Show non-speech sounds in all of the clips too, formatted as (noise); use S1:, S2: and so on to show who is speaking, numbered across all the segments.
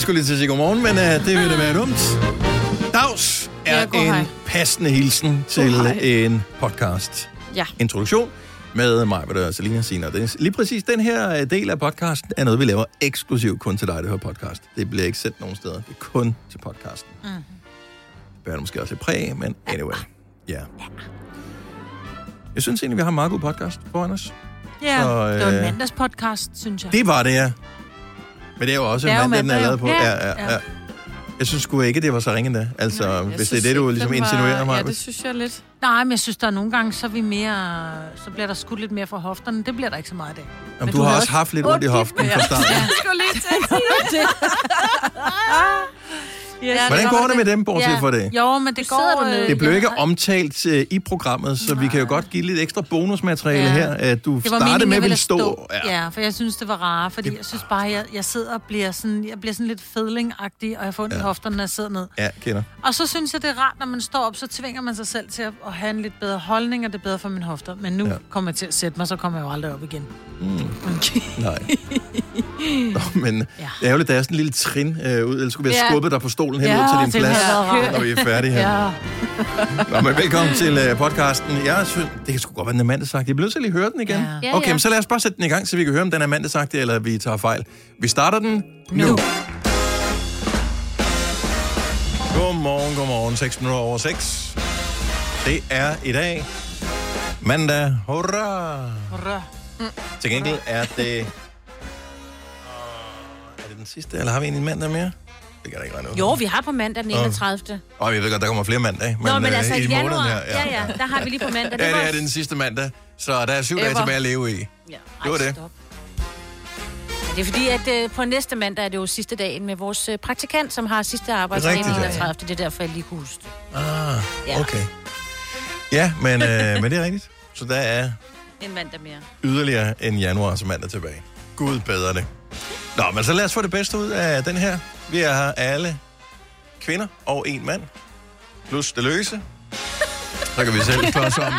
S1: skulle lige til at sige godmorgen, men uh, det ville da være dumt. Dags er
S2: Ja,
S1: ja,
S2: god hej.
S1: en passende hilsen til
S2: hej.
S1: en podcast.
S2: Ja.
S1: Introduktion med mig, hvad der Selina Sina og Dennis. Lige præcis den her øh, del af podcasten er noget, vi laver eksklusivt kun til dig, der hører podcast. Det bliver ikke sendt nogen steder. Det er kun til podcasten.
S2: Mhm.
S1: Mm. Det bærer måske også lidt præg, men anyway. Ja. Jeg synes egentlig, vi har en meget god podcast foran os.
S2: Ja,
S1: Så,
S2: det var
S1: øh,
S2: en mandagspodcast, synes jeg.
S1: Det var det, ja. Men det er jo også
S2: Det
S1: en
S2: er jo
S1: mand, den er
S2: mandag,
S1: lavet
S2: jo.
S1: på. Ja,
S2: Ja,
S1: ja,
S2: ja.
S1: ja. Jeg synes sgu ikke, det var så ringe da. Altså, Nej,
S3: Jeg
S1: hvis det er
S3: synes
S1: det, du
S3: ikke,
S1: ligesom
S3: den var-
S1: insinuerer mig.
S3: Ja, det synes jeg lidt.
S2: Nej, men jeg synes, der er nogle gange, så er vi mere... Så bliver der skudt lidt mere fra hofterne. Det bliver der ikke så meget af.
S1: Jamen, du, har også haft lidt ondt i hoften fra starten.
S3: skulle lige til. (laughs)
S2: Ja,
S1: Hvordan
S2: det
S1: går
S2: var
S1: det med dem, bortset
S2: Ja.
S1: fra det?
S2: Jo, men det
S3: sidder
S2: går...
S3: dernede.
S2: øh,
S1: Det blev
S2: jeg
S1: ikke
S2: har-
S1: omtalt øh, i programmet, så vi kan jo godt give lidt ekstra bonusmateriale
S2: Ja.
S1: her. At du
S2: Det var meningen,
S1: startede
S2: jeg
S1: med at ville
S2: ville
S1: stå. Ja.
S2: Ja. ja, for jeg synes, det var rart, fordi jeg synes bare, jeg, jeg sidder og bliver sådan, jeg bliver sådan lidt fedlingagtig, og jeg får ondt i hofterne, når jeg sidder ned.
S1: ja, kender.
S2: Og så synes jeg, det er rart, når man står op, så tvinger man sig selv til at, at have en lidt bedre holdning, og det er bedre for mine hofter. Men nu
S1: Ja. Mm.
S2: ja. kommer jeg til at sætte mig, så kommer jeg jo aldrig op igen.
S1: Nej. Nå, men
S2: Ja.
S1: det er jo lidt, der er sådan en lille trin øh, ud. Ellers skulle vi have
S3: Ja.
S1: skubbet dig på stolen hen
S2: Ja,
S1: ud til din
S2: det
S1: plads,
S2: havde været rart.
S1: når vi er færdige her.
S2: Ja.
S1: Nå, men velkommen til uh, podcasten. Jeg synes, det kan sgu godt være, den er mandagsagtig. Jeg bliver nødt til at lige høre den igen.
S2: Ja.
S3: Ja,
S1: Okay,
S3: ja.
S1: men så lad os bare sætte den i gang, så vi kan høre, om den er mandagsagtig, eller vi tager fejl. Vi starter den nu. nu.
S2: Nu.
S1: Godmorgen, godmorgen. 6 minutter over 6. Det er i dag mandag. Hurra!
S2: Rør.
S1: Til gengæld er det... Åh, Er det den sidste, eller har vi en mandag mere? Det kan jeg da ikke regne ud.
S3: Jo, vi har på mandag den 31.
S1: Og jeg ved godt, der kommer flere mandag, men,
S3: Nå, men
S1: øh,
S3: altså i
S1: måneden
S3: januar,
S1: her,
S3: ja, ja, der har vi lige på mandag.
S1: Ja, det
S3: var-
S1: er den sidste mandag, så der er syv dage
S3: Ever.
S1: tilbage at leve i.
S3: Ja.
S1: Det var det.
S3: stop. Ja, Det er fordi, at øh, på næste mandag er det jo sidste dagen med vores øh, praktikant, som har sidste arbejdsdag den
S1: rigtigt, ja.
S3: 31. Det er derfor, jeg lige kunne huske det.
S1: Ah,
S3: Ja.
S1: okay. Ja, men, øh, men det er rigtigt. Så der er
S3: En mandag mere.
S1: yderligere en januar som mandag tilbage. Gud bedre det. Nå, men så lad os få det bedste ud af den her. Vi er her alle kvinder og en mand. Plus det løse. Så kan vi selv slås om,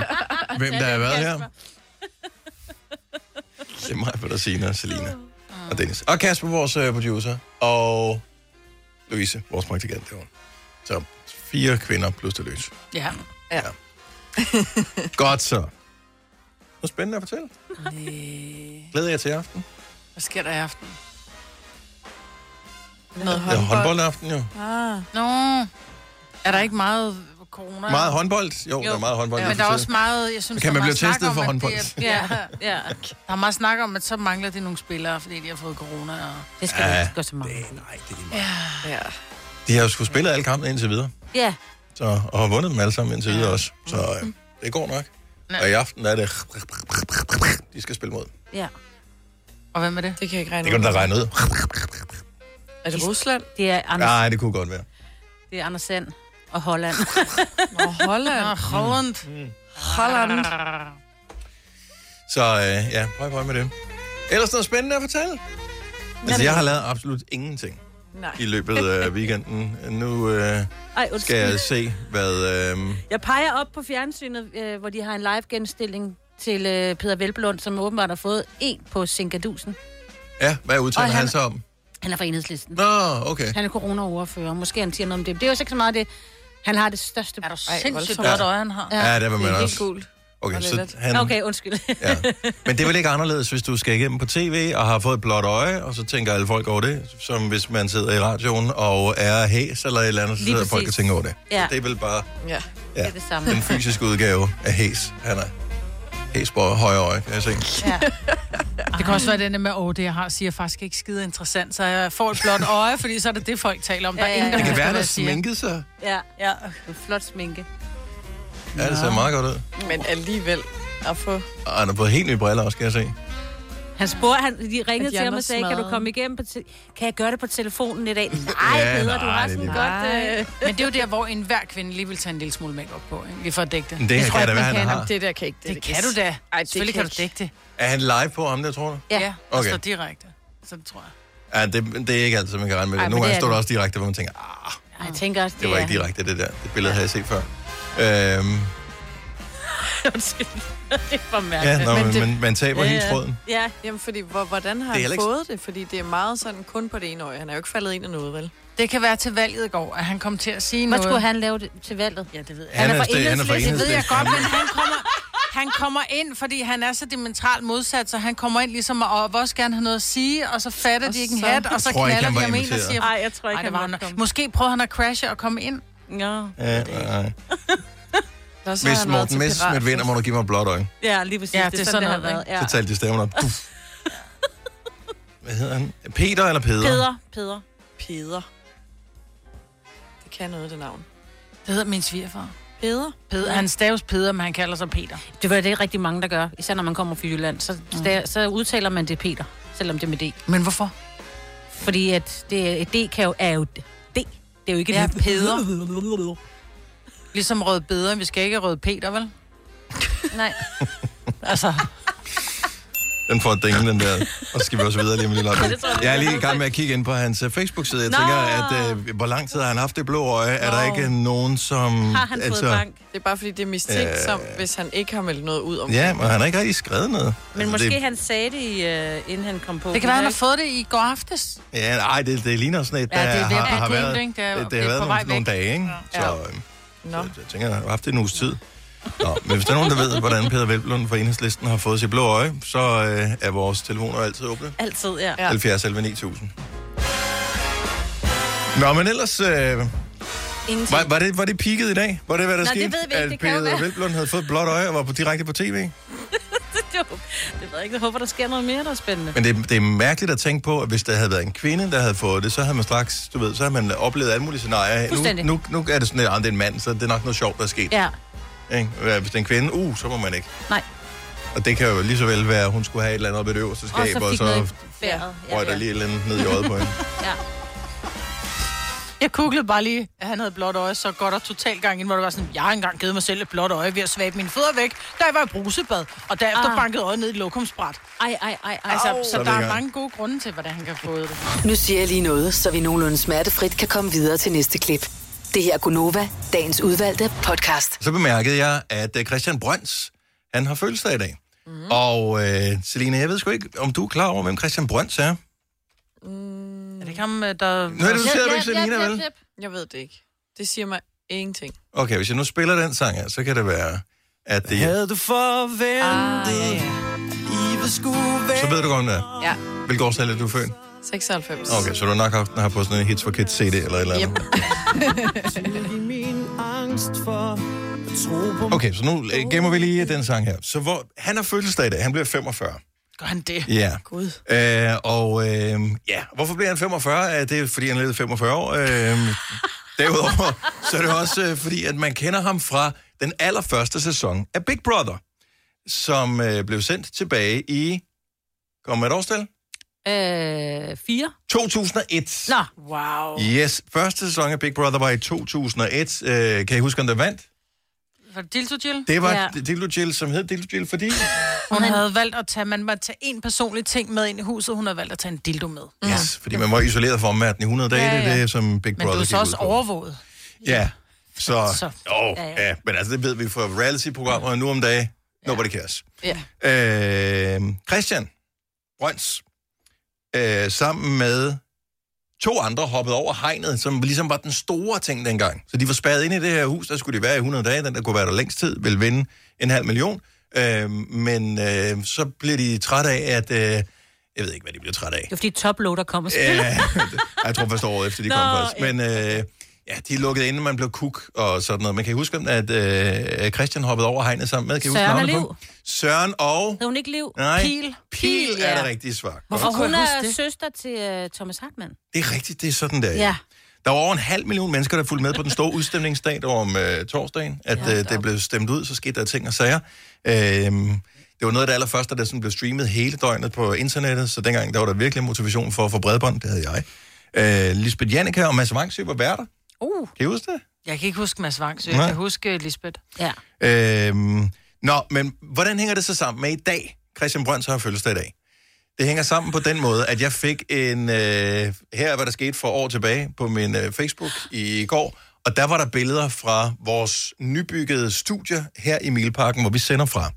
S1: hvem der har været her. Det er mig, for der Sina, Selina og Dennis. Og Kasper, vores øh, producer. Og Louise, vores praktikant derovre. Så fire kvinder plus det løse.
S2: Ja.
S1: Godt så. Noget spændende at fortælle. Glæder jeg til i aften.
S4: Hvad sker der i aften?
S2: Noget
S1: Ja, håndboldaften jo.
S4: Nå, er der ikke meget corona?
S1: Meget håndbold? Jo, jo. der er meget håndbold.
S4: Ja,
S1: lige
S4: men der er
S1: for
S4: også
S1: tiden.
S4: meget, jeg synes,
S1: Kan
S4: der
S1: man
S4: er
S1: blive
S4: meget snak
S1: testet
S4: om,
S1: for
S4: at
S1: håndbold?
S4: det er-
S3: Ja, ja.
S4: Der er meget snak om, at så mangler det nogle spillere, fordi de har fået corona. Og...
S3: Det skal
S1: Ja.
S3: ja. ikke gå så meget.
S1: Ah, Det, nej, det er lige meget.
S4: Ja.
S1: De har jo sgu spillet alle kampene indtil videre,
S3: Ja,
S1: så, og har vundet dem alle sammen indtil videre også. Så øh, det går nok.
S4: Ja.
S1: Og i aften er det... De skal spille mod.
S3: ja.
S4: Og hvem er det?
S5: Det kan jeg ikke regne
S1: Det kan
S5: ud.
S1: du da regne ud.
S5: Er det Rusland?
S3: Det er Anders, ja.
S1: Nej, det kunne godt være.
S3: det er Anders Sand og
S1: (laughs)
S3: Holland.
S5: Og Holland? Mm.
S4: Ah, Holland.
S1: Mm.
S5: Holland?
S1: Så øh, ja, prøv at prøve med det. Ellers noget spændende at fortælle? Altså, jeg har lavet absolut ingenting
S5: Nej.
S1: i løbet af weekenden. Nu øh,
S3: Ej, undskyld.
S1: skal jeg se, hvad... Øh,
S3: Jeg peger op på fjernsynet, øh, hvor de har en live-genstilling til øh, Peter Velblund, som åbenbart har fået en på Sinkadusen.
S1: ja, hvad udtaler
S3: Og
S1: han,
S3: han-
S1: han sig om?
S3: Han er fra enhedslisten.
S1: Nå, okay.
S3: Han er corona-overfører. Måske han siger noget om det. Men Det er jo ikke så meget det. Han har det største...
S4: Er du
S5: Ej,
S4: sindssygt
S5: voldsomt.
S4: godt øje, han har?
S3: Ja,
S1: Ja, det vil
S5: Det
S1: man
S5: er helt
S1: også.
S5: gult.
S1: Okay,
S5: Og lidt
S1: så
S5: let.
S1: han,
S3: Okay, undskyld.
S1: (laughs)
S3: (laughs)
S1: Ja. Men det er vel ikke anderledes, hvis du skal igennem på tv og har fået et blåt øje, og så tænker alle folk over det, som hvis man sidder i radioen og er hæs eller et eller andet, så
S3: Lige
S1: sidder folk og
S3: præcis.
S1: tænker over det.
S3: Ja.
S1: Så det er vel bare
S5: Ja.
S1: ja,
S3: er det samme.
S1: den fysiske udgave af hæs, han er. Hæs på højre øje, kan jeg se.
S4: Det kan også være den der med, åh, det jeg har, siger faktisk ikke skide interessant, så jeg får et blåt øje, fordi så er det det, folk taler om. Der er
S3: Ja,
S4: ingen, der
S3: ja,
S1: Det kan
S4: husker,
S1: være,
S4: hvad
S1: der
S4: jeg siger.
S1: sminkede sig.
S3: Ja,
S4: Ja.
S3: en flot sminke.
S1: Ja, det ser meget godt ud.
S5: Men alligevel at få...
S1: Og han har fået helt nye briller også, kan jeg se.
S3: Han spurgte, han, de ringede
S5: At
S3: til ham
S5: Jan er
S3: og sagde, kan du
S5: smadret."
S3: komme igennem på te- Kan jeg gøre det på telefonen i dag? Nej,
S1: Ja,
S3: ja, Peder, du
S1: nej,
S3: har
S1: det er
S3: sådan
S1: lige-
S3: godt... Øh,
S4: Men det er jo der, hvor enhver kvinde lige vil tage en lille smule makeup på, ikke? lige for at dække det.
S1: Men det her
S5: tror
S1: kan da
S5: ikke,
S1: være,
S5: man
S1: han
S5: kan.
S1: har.
S5: Det der kan ikke.
S4: Det
S5: der
S4: kan du da.
S5: Ej, det
S4: Selvfølgelig
S5: kan
S4: kan du dække det.
S1: Er han live på ham, der tror du?
S3: Ja.
S4: Ja, og
S1: Okay.
S4: okay. står direkte. Så det tror jeg.
S1: Ja, det, det er ikke altid, man kan regne med
S3: Ej, men
S1: det. Nogle
S3: det
S1: gange
S3: er
S1: står der
S3: det.
S1: også direkte, hvor man tænker, ah,
S3: ej, jeg tænker også,
S1: det var ikke direkte det der. Det billede havde jeg set før. Øhm,
S3: (laughs) Undskyld. det var
S1: Ja,
S3: mærkeligt.
S1: nå,
S5: Men
S1: men,
S5: det-
S1: men man taber
S3: Ja,
S1: helt
S3: ja.
S1: tråden.
S3: Ja,
S5: Jamen, fordi, hvor, hvordan har
S1: Det er
S5: han
S1: Alex.
S5: fået det? Fordi det er meget sådan kun på det ene øje. Han er jo ikke faldet ind af noget, vel?
S4: Det kan være til valget i går, at han kom til at sige
S3: hvad
S4: noget.
S3: skulle han lave det, til valget? Ja, det ved jeg.
S1: Han er sta- han er fra
S4: Det ved jeg
S1: Enhedslisten.
S4: godt, men han kommer, han kommer ind, fordi han er så dimensionalt modsat, så han kommer ind ligesom og, og vil også gerne have noget at sige, og så fatter
S5: Og
S4: de ikke en
S5: så-
S4: hat, og så
S1: Jeg tror ikke,
S4: knalder
S1: han
S4: de
S1: var
S4: ham ind og
S1: inviteret.
S4: siger...
S3: Nej, jeg tror ikke,
S4: Ej, det var han.
S3: nok.
S4: Måske prøver han at crashe og komme ind.
S3: Nå.
S1: Ja, nej.
S5: Nå, så har
S1: Hvis
S5: han været
S1: Morten
S5: til
S1: Messerschmidt
S5: piratfest.
S1: vinder, må du give mig et blåt øje.
S3: Ja, lige præcis.
S4: Ja,
S3: det er sådan, det har været. altså. Ja.
S1: Så talte
S3: (laughs)
S1: de stemmen op. Puff. Hvad hedder han? Peter eller Peder?
S3: Peder, Peder.
S5: Peder. Det kan noget, det navn.
S4: Det hedder min svigerfar.
S5: Peder?
S4: Peder. Han staves Peder, men han kalder sig Peter.
S3: Det var det rigtig mange, der gør, især når man kommer fra Jylland. Så, mm. så udtaler man det Peter, selvom det er med D.
S4: Men hvorfor?
S3: Fordi at det, et D kan jo, er jo et D. Det er jo ikke
S4: Ja,
S3: et lyd.
S4: Peder. Ligesom Rød Bedre. Vi skal ikke have Rød Peter, vel?
S3: (laughs) Nej.
S4: (laughs) Altså,
S1: Den får dængen, den der. Og så skal vi også videre lige om
S3: (laughs)
S1: lidt. Jeg, jeg er lige i gang med at kigge ind på hans øh, Facebook-side. Jeg
S3: Nå.
S1: tænker, at øh, hvor lang tid har han haft det blå øje? Er der
S5: Nå.
S1: ikke nogen, som... altså-
S3: Har han fået bank?
S5: Det er bare fordi, det er mistænksomt, øh... hvis han ikke har meldt noget ud om
S1: Ja, men han har ikke rigtig skrevet noget.
S3: Men
S1: Altså,
S3: måske
S1: Det,
S3: han sagde det, øh, inden han kom på.
S4: det kan være, han har fået det i går aftes.
S1: ja, nej, det, det ligner sådan et, der
S4: Ja, det er ved
S1: har,
S4: at blive
S1: har
S4: glemt,
S1: været,
S4: ikke? Det er-
S1: det, det
S4: det er
S1: har været
S4: på
S1: nogle,
S4: vej
S1: nogle
S4: væk.
S1: dage, ikke?
S5: Ja.
S1: Så øh,
S5: Nå.
S1: jeg tænker, jeg har haft det en uges tid. Nå, men hvis der er nogen, der ved, hvordan Peter Velblom fra Enhedslisten har fået sit blå øje, så øh, er vores telefoner altid åbne.
S3: Altid, ja.
S5: Ja.
S3: ja.
S1: 70 11 9000. Nå, men ellers... Øh,
S3: Ingenting.
S1: Var, var, det, var det peaket i dag? Var det, hvad der
S3: Nå, det
S1: skete?
S3: ved vi ikke.
S1: At
S3: Det kan jo
S1: Peder
S3: være.
S1: Velblom havde fået et blåt øje og var på, direkte på tv?
S3: (laughs) det ved jeg ikke. Jeg håber, der sker noget mere, der er spændende.
S1: Men det, det er mærkeligt at tænke på, at hvis der havde været en kvinde, der havde fået det, så havde man straks, du ved, så havde man oplevet alle mulige scenarier. Nu,
S3: Fuldstændig.
S1: nu, nu er det sådan, at ah, det er en mand, så det er nok noget sjovt, der er sket.
S3: Ja,
S1: Ikke? Hvad, Hvis det er en kvinde, uh, så må man ikke.
S3: nej.
S1: Og det kan jo lige så vel være, at hun skulle have et eller andet op i det øverste
S3: Og
S1: skab,
S3: så
S1: og
S3: fik
S1: så
S3: noget i bæret.
S1: røg der lige et eller andet ned i øjet på hende.
S3: Ja.
S4: Jeg googlede bare lige, at han havde blåt øje, så godt og totalt gang ind, hvor det var sådan, jeg har engang givet mig selv et blåt øje ved at svabe mine fødder væk, da jeg var i brusebad, og derefter ah.
S3: Ah.
S4: bankede øjet ned i et lokumsbræt.
S3: Ej, ej, ej, ej.
S4: Altså,
S3: Altså,
S4: oh,
S1: Så
S4: så
S1: er
S4: der
S1: vi i
S4: er
S1: gang.
S4: mange gode grunde til, hvordan han kan få det.
S6: Nu siger jeg lige noget, så vi nogenlunde smertefrit kan komme videre til næste klip. Det her er Gunova, dagens udvalgte podcast.
S1: Så bemærkede jeg, at øh, Christian Brøns, han har fødselsdag i dag. Mm. Og øh, Selina, jeg ved sgu ikke, om du er klar over, hvem Christian Brøns er?
S4: Er det ikke ham, øh, der...
S1: Nu er det, du ser
S3: Jep,
S1: du
S3: jep,
S1: ikke
S3: jep,
S1: Selina,
S3: jep,
S1: vel?
S3: jep.
S5: Jeg ved det ikke. Det siger mig ingenting.
S1: Okay, hvis jeg nu spiller den sang her, så kan det være, at det...
S7: Havde du forventet,
S5: Ah, ja,
S7: livet skulle være
S1: Så ved du godt, om det er.
S5: Ja,
S1: Hvilket årstal er du født?
S5: 96.
S1: Okay, så du har nok haft den her på sådan en Hits for Kids CD eller et eller andet.
S5: Yep.
S7: i min angst for at tro på
S1: Okay, så nu øh, gemmer vi lige den sang her. Så hvor, han har fødselsdag i dag. Han bliver 45.
S4: Gør han det?
S1: Ja.
S5: Gud.
S1: Øh, og øh, ja, hvorfor bliver han 45? Øh, Det er fordi, han levede 45 år. Øh, derudover, så er det også øh, fordi, at man kender ham fra den allerførste sæson af Big Brother, som øh, blev sendt tilbage i... Kom med et årstal?
S3: Øh, fire?
S1: 2001.
S3: Nå.
S4: Wow.
S1: Yes, første sæson af Big Brother var i 2001. Øh, kan I huske, om der vandt?
S4: Var det Dildo Jill?
S1: Det var ja.
S3: Ja.
S1: Dildo Jill, som hed Dildo Jill, fordi...
S4: Hun havde valgt at tage, man måtte tage en personlig ting med ind i huset, hun havde valgt at tage en dildo med.
S1: Yes, fordi man var isoleret fra omverdenen i 100 dage, ja, ja. det er det, som Big
S4: Men
S1: Brother
S4: du er så
S1: gik
S4: også
S1: ud på.
S4: overvåget.
S1: Ja, så...
S4: Så-
S1: Åh, ja, ja. ja, men altså, det ved vi fra reality-programmer nu om dagen. Nobody cares.
S5: Ja.
S1: Øh, Christian Brøns, øh, sammen med to andre hoppede over hegnet, som ligesom var den store ting dengang. Så de var spadet ind i det her hus, der skulle de være i 100 dage, den der kunne være der længst tid, ville vinde en halv million. Øh, men øh, så blev de trætte af, at... Øh, jeg ved ikke, hvad de blev trætte af.
S3: Det var fordi toploader kom og spillede.
S1: Ja, (laughs) jeg tror først året efter, de kom
S3: Nå,
S1: først.
S3: ja.
S1: Men øh, ja, de lukkede inden man blev kuk og sådan noget. Man kan I huske, at øh, Christian hoppede over hegnet sammen med. Kan I huske
S3: Søren og
S1: navnet på?
S3: Liv.
S1: Søren og...
S3: Hed hun ikke Liv?
S1: Nej,
S4: Pil.
S1: Pil
S3: Pil,
S1: er
S3: ja.
S1: det rigtige svar. Godt.
S3: Og
S4: Hvorfor
S3: hun
S4: kunne jeg huske
S3: er
S4: det?
S3: søster til øh, Thomas Hartmann.
S1: Det er rigtigt, det er sådan der.
S3: Ja.
S1: Der var over en halv million mennesker, der fulgte med på den store udstemningsdag der var om øh, torsdagen. At øh, det blev stemt ud, så skete der ting og sager. Øh, det var noget af det allerførste, der sådan blev streamet hele døgnet på internettet, så dengang der var der virkelig motivation for at få bredbånd, det havde jeg. Øh, Lisbeth Janneke og Mads Vangsø var værter.
S3: Uh.
S1: Kan I huske det?
S4: Jeg kan ikke huske Mads Wang, så
S1: Nej.
S4: jeg kan huske øh, Lisbeth.
S3: Ja.
S1: Øhm, nå, men hvordan hænger det så sammen med i dag? Christian Brøns har fødselsdag i dag. Det hænger sammen på den måde, at jeg fik en... Øh, her er, hvad der skete for år tilbage på min øh, Facebook i går, Og der var der billeder fra vores nybyggede studier her i Mileparken, hvor vi sender fra.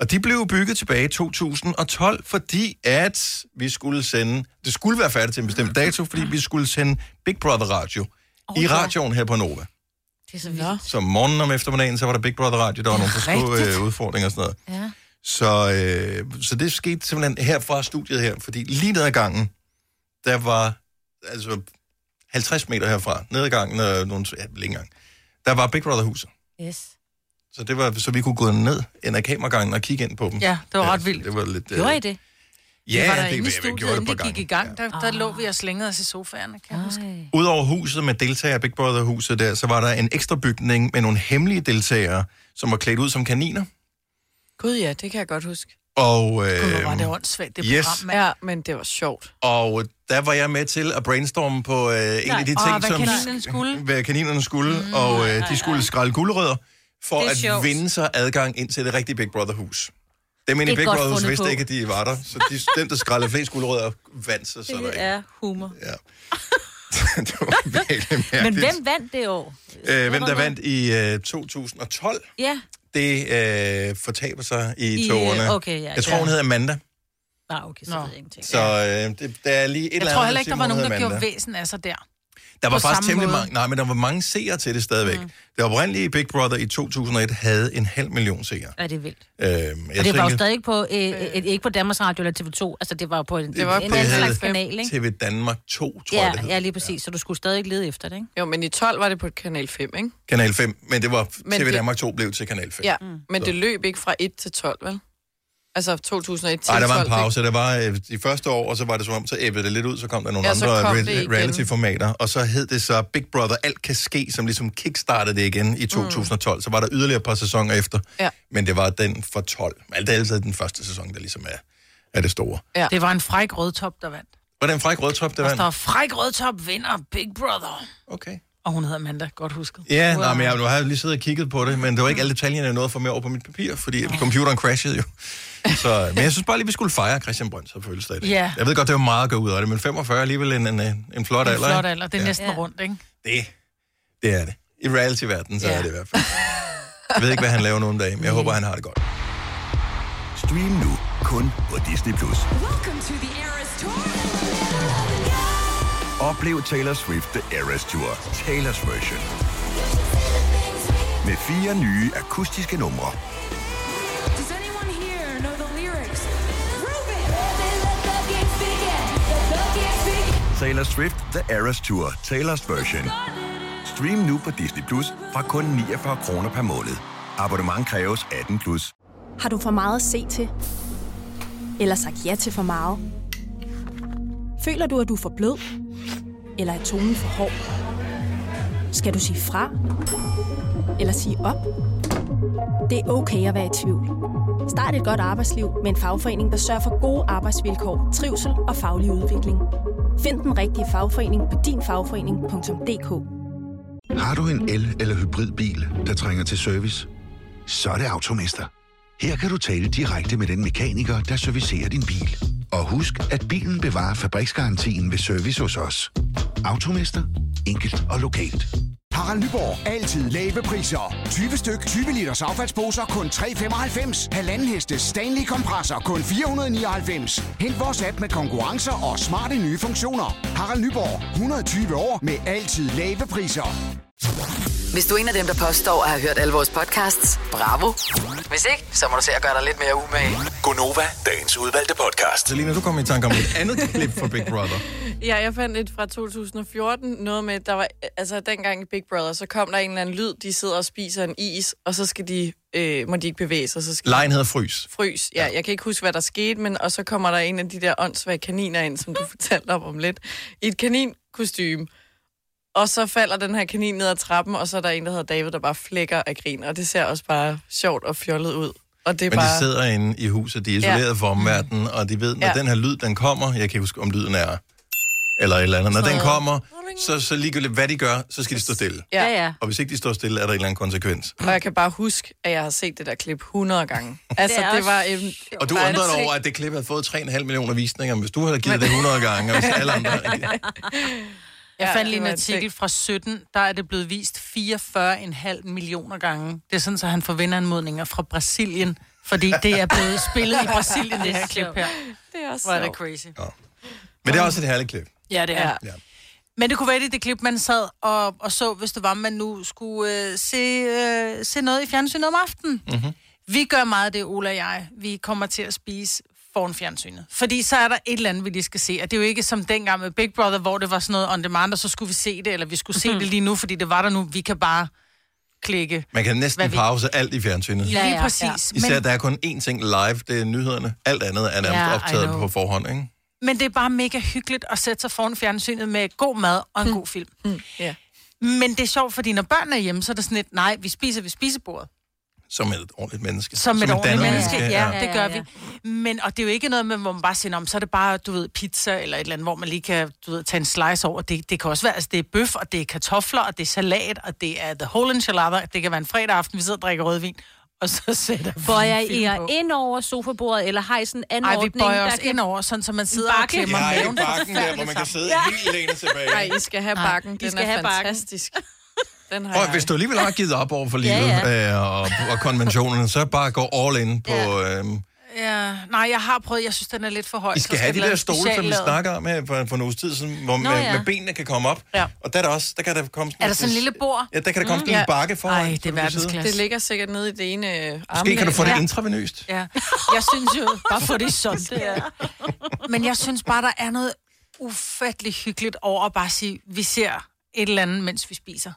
S1: Og de blev bygget tilbage i 2012, fordi at vi skulle sende... Det skulle være færdigt til en bestemt dato, fordi vi skulle sende Big Brother Radio oh, i radioen her på Nova.
S3: Det er så vildt.
S1: Så om morgenen om eftermiddagen, så var der Big Brother Radio, der var nogle forskellige øh, udfordringer og sådan noget.
S8: Ja.
S1: Så, øh, så det skete simpelthen her fra studiet her, fordi lige ned ad gangen, der var altså 50 meter herfra, ned ad gangen, øh, nogle, ja, vel ikke engang, der var Big Brother-huset.
S3: Yes.
S1: Så, det var, så vi kunne gå ned ind ad kameragangen og kigge ind på dem.
S8: Ja, det var ret vildt.
S1: Det var lidt, øh,
S3: Gjorde I det?
S1: Ja, det,
S2: var
S1: var
S2: der inde i
S1: det, jeg, jeg
S2: studiet,
S1: gjorde det
S2: inden
S1: på
S2: det gik
S1: gangen.
S2: i gang. Der,
S1: Ah.
S2: der lå vi og slængede os i sofaerne, kan jeg huske.
S1: Øhm,
S3: Ej.
S1: Udover huset med deltagere, Big Brother-huset der, så var der en ekstra bygning med nogle hemmelige deltagere, som var klædt ud som kaniner.
S5: Gud ja, det kan jeg godt huske.
S1: Og, øh,
S2: Gud, hvor var det åndssvagt, det
S1: yes.
S2: yes. program. mand.
S5: Ja, men det var sjovt.
S1: og der var jeg med til at brainstorme på øh, en af de ting,
S8: Åh, hvad
S1: som
S8: kaninerne skulle?
S1: hvad kaninerne skulle, mm, og øh, de skulle skrælle gulerødder for
S3: Det er
S1: at
S3: sjovt.
S1: vinde sig adgang ind til det rigtige Big Brother-hus. Dem
S3: Det
S1: inde i
S3: er
S1: Big
S3: godt
S1: Brother-hus
S3: fundet
S1: vidste
S3: på.
S1: ikke, at de var der, så de, den, der skrællede flest gulerødder, vandt sig så der
S3: Det
S1: ikke.
S3: er humor.
S1: Ja. (laughs) det var virkelig mærkeligt.
S3: Men hvem vandt det år?
S1: øh, hvem der vandt i øh, 2012,
S3: Ja.
S1: det øh, fortaber sig i,
S3: I,
S1: I
S3: øh,
S1: tårerne.
S3: okay, ja,
S1: jeg tror,
S3: ja.
S1: hun hedder Amanda,
S3: Nej, okay, så
S2: Nå.
S3: ved jeg ingenting.
S1: så øh, det, der er lige et eller andet.
S2: Jeg tror heller ikke,
S1: der
S2: der var nogen, der
S1: Amanda.
S2: gjorde væsen af sig der.
S1: Der var
S2: på
S1: faktisk
S2: samme
S1: temmelig
S2: måde.
S1: mange, nej, men der var mange seere til det stadigvæk. Mm. Det oprindelige Big Brother i 2001 havde en halv million seere.
S3: Ja, det er vildt.
S1: Øhm, jeg
S3: Og det var jo
S1: tænker,
S3: stadig ikke på, øh, øh, ikke på Danmarks Radio eller TV2. Altså, det var jo på en, det
S5: var
S3: var en
S5: på
S3: anden
S5: havde-
S3: slags kanal, ikke?
S1: TV Danmark 2, tror
S3: Ja,
S1: jeg, det hed.
S3: ja, lige præcis. Så du skulle stadig lede efter det, ikke?
S5: Jo, men i 12 var det på Kanal 5, ikke?
S1: Kanal 5, men det var
S5: Men
S1: TV
S5: det-
S1: Danmark 2 blev til Kanal 5.
S5: Ja, men det løb ikke fra 1 til 12, vel? Altså 2001 til
S1: Ej, der var
S5: 12.
S1: en pause. Der var øh, de første år, og så var det som om, så æbbede det lidt ud, så kom der nogle
S5: Ja, så
S1: andre
S5: kom det
S1: re-
S5: igen.
S1: reality-formater, og så hed det så Big Brother Alt kan ske, som ligesom kickstartede det igen i 2012. Så var der yderligere et par sæsoner efter,
S5: Mm. Ja.
S1: men det var den for 12. Alt det er altid den første sæson, der ligesom er, er det store.
S5: Ja.
S2: Det var en fræk rødtop, der vandt.
S1: Var det en fræk rødtop, det
S2: Der står,
S1: var?
S2: fræk rødtop vinder Big Brother.
S1: Okay.
S2: Og hun hedder Amanda, godt husket.
S1: Ja, nej, men jeg, nu har jeg lige siddet og kigget på det, men det var ikke alle detaljerne, jeg nåede at få med over på mit papir, fordi computeren crashede jo. Så, men jeg synes bare lige, vi skulle fejre Christian Brønds fødselsdag. i dag.
S2: Ja.
S1: Jeg ved godt, det var meget at gå ud af det, men 45 er alligevel en, en, en, en flot
S2: En
S1: alder.
S2: flot
S1: ikke?
S2: alder, det er
S1: Ja.
S2: næsten
S3: Ja.
S2: rundt, ikke?
S1: Det, det er det. I reality-verdenen, så
S2: Ja.
S1: er det i hvert fald. Jeg ved ikke, hvad han laver nu om dagen, men jeg håber, han har det godt.
S9: Stream nu kun på Disney+. Plus. Oplev Taylor Swift The Eras Tour, Taylor's version. Med fire nye akustiske numre. Taylor Swift The Eras Tour, Taylor's version. Stream nu på Disney Plus fra kun 49 kroner per måned. Abonnement kræves 18 plus.
S10: Har du for meget at se til? Eller sagt ja til for meget? Føler du, at du er for blød? Eller er tonen for hård? Skal du sige fra? Eller sige op? Det er okay at være i tvivl. Start et godt arbejdsliv med en fagforening, der sørger for gode arbejdsvilkår, trivsel og faglig udvikling. Find den rigtige fagforening på dinfagforening.dk.
S9: Har du en el- eller hybridbil, der trænger til service? Så er det Automester. Her kan du tale direkte med den mekaniker, der servicerer din bil. Og husk, at bilen bevarer fabriksgarantien ved service hos os. Automester. Enkelt og lokalt.
S11: Harald Nyborg. Altid lave priser. 20 styk, 20 liters affaldsposer kun 3,95. Halvanden heste Stanley kompresser kun 499. Hent vores app med konkurrencer og smarte nye funktioner. Harald Nyborg. 120 år med altid lave priser.
S6: Hvis du er en af dem, der påstår at have hørt alle vores podcasts, bravo.
S12: Hvis ikke, så må du se at gøre dig lidt mere umage.
S9: Gonova, dagens udvalgte podcast.
S1: Altså, Selina, du kom i tanke om et andet klip fra Big Brother.
S5: Ja, jeg fandt et fra 2014, noget med, der var, altså dengang i Big Brother, så kom der en eller anden lyd, de sidder og spiser en is, og så skal de, øh, må de ikke bevæge sig, så skal
S1: Lejen hedder Frys.
S5: frys. Ja, jeg kan ikke huske, hvad der skete, men og så kommer der en af de der åndssvage kaniner ind, som (laughs) du fortalte om om lidt, i et kaninkostyme. Og så falder den her kanin ned ad trappen, og så er der en, der hedder David, der bare flækker af grin, og det ser også bare sjovt og fjollet ud. Og det er
S1: Men
S5: bare...
S1: de sidder inde i huset, de er isoleret
S5: Ja.
S1: ja. fra omverdenen, og de ved, når ja.
S5: Ja.
S1: den her lyd, den kommer, jeg kan ikke huske, om lyden er eller et eller andet, når den kommer, så, så ligegyldigt hvad de gør, så skal de stå stille.
S5: Ja.
S3: Ja, ja.
S1: Og hvis ikke de står stille, er der en eller anden konsekvens.
S5: Og jeg kan bare huske, at jeg har set det der klip 100
S2: (laughs)
S5: gange. Altså,
S3: Det er
S5: det, det var...
S3: også
S5: Øhm,
S1: Og du
S5: var
S1: undrede dig
S5: ting-
S1: over,
S2: (laughs)
S1: at det klip havde fået 3,5 millioner visninger, men hvis du havde givet det 100 gange, og hvis alle andre...
S2: Jeg
S4: Ja,
S2: fandt lige
S4: det
S2: en
S4: var et
S2: artikel
S4: dæk.
S2: fra 17, der er det blevet vist 44,5 millioner gange. Det er sådan, så han får vinderanmodninger fra Brasilien, fordi det er blevet spillet i Brasilien, det her klip her.
S5: Det er også
S2: Hvor er det
S5: sjovt.
S2: crazy.
S1: Men det er også et herligt klip.
S2: Ja, det er.
S1: Ja.
S2: Ja. Men det kunne være det, er det klip, man sad og, og så, hvis det var, man nu skulle øh, se, øh, se noget i fjernsynet om aftenen.
S13: Mm-hmm.
S2: Vi gør meget af det, Ola og jeg. Vi kommer til at spise foran fjernsynet. Fordi så er der et eller andet, vi lige skal se. Og det er jo ikke som dengang med Big Brother, hvor det var sådan noget on demand, og så skulle vi se det, eller vi skulle se
S4: Mhm.
S2: det lige nu, fordi det var der nu. Vi kan bare klikke.
S1: Man kan næsten
S2: Hvad vi-
S1: pause alt i fjernsynet.
S2: Ja, Lige ja, præcis. ja.
S1: Især,
S2: Men-
S1: der er kun én ting live, det er nyhederne. Alt andet er nærmest
S2: Ja, I
S1: optaget
S2: know.
S1: på forhånd, ikke?
S2: Men det er bare mega hyggeligt at sætte sig foran fjernsynet med god mad og en god film.
S5: Ja.
S2: Men det er sjovt, fordi når børnene er hjemme, så er det sådan lidt, nej, vi spiser ved spisebordet.
S1: Som et ordentligt menneske.
S2: Som et ordentligt
S1: dannet
S2: menneske, ja, ja, det gør vi. Men, og det er jo ikke noget med, hvor man bare siger, "Nå, men så er det bare, du ved, pizza eller et eller andet, hvor man lige kan, du ved, tage en slice over. Det, det kan også være, altså det er bøf, og det er kartofler, og det er salat, og det er the whole enchilada. Det kan være en fredag aften, vi sidder og drikker rødvin, og så (laughs) sætter vi
S3: Bøjer
S2: en film
S3: I jer
S2: på.
S3: ind over sofabordet, eller har I sådan en anden
S2: Ej, vi
S3: ordning,
S2: bøjer
S3: der
S2: os
S3: kan-
S2: ind over, sådan, så man sidder og
S3: Bakke?
S2: klemmer
S1: Ja, i
S2: maven.
S1: bakken der, hvor man kan sidde helt alene tilbage.
S5: Nej, I skal have
S2: Nej,
S5: bakken.
S2: I
S5: Den
S2: skal
S5: er
S2: have bakken. (laughs)
S5: fantastisk. Den har
S1: Og
S5: jeg.
S1: hvis du alligevel har givet op over for livet
S5: Ja,
S1: ja, ja. Øh, og, og konventionerne, så bare gå all in på... Ja. Øh,
S2: Ja, nej, jeg har prøvet, jeg synes, den er lidt for høj.
S1: I
S2: så
S1: skal have de
S2: den
S1: der
S2: være
S1: stole, som vi
S2: speciallavet.
S1: snakker om her for, for en uges tid siden, hvor
S2: Nå,
S1: Nå, med,
S2: ja.
S1: ja. med benene kan komme op.
S2: Ja.
S1: Og der er der også, der kan der komme sådan
S5: Er der sådan en lille bord?
S1: Ja, der kan der komme
S5: Mm.
S1: sådan en
S5: Ja.
S1: lille bakke foran. Ej,
S5: Det ligger sikkert nede i det ene øh,
S1: Måske kan du få det
S5: armlæg.
S1: intravenøst.
S2: Ja. Jeg synes jo, bare få det i sundt. Ja. Men jeg synes bare, der er noget ufattelig hyggeligt over at bare sige, vi ser et eller andet, mens vi spiser.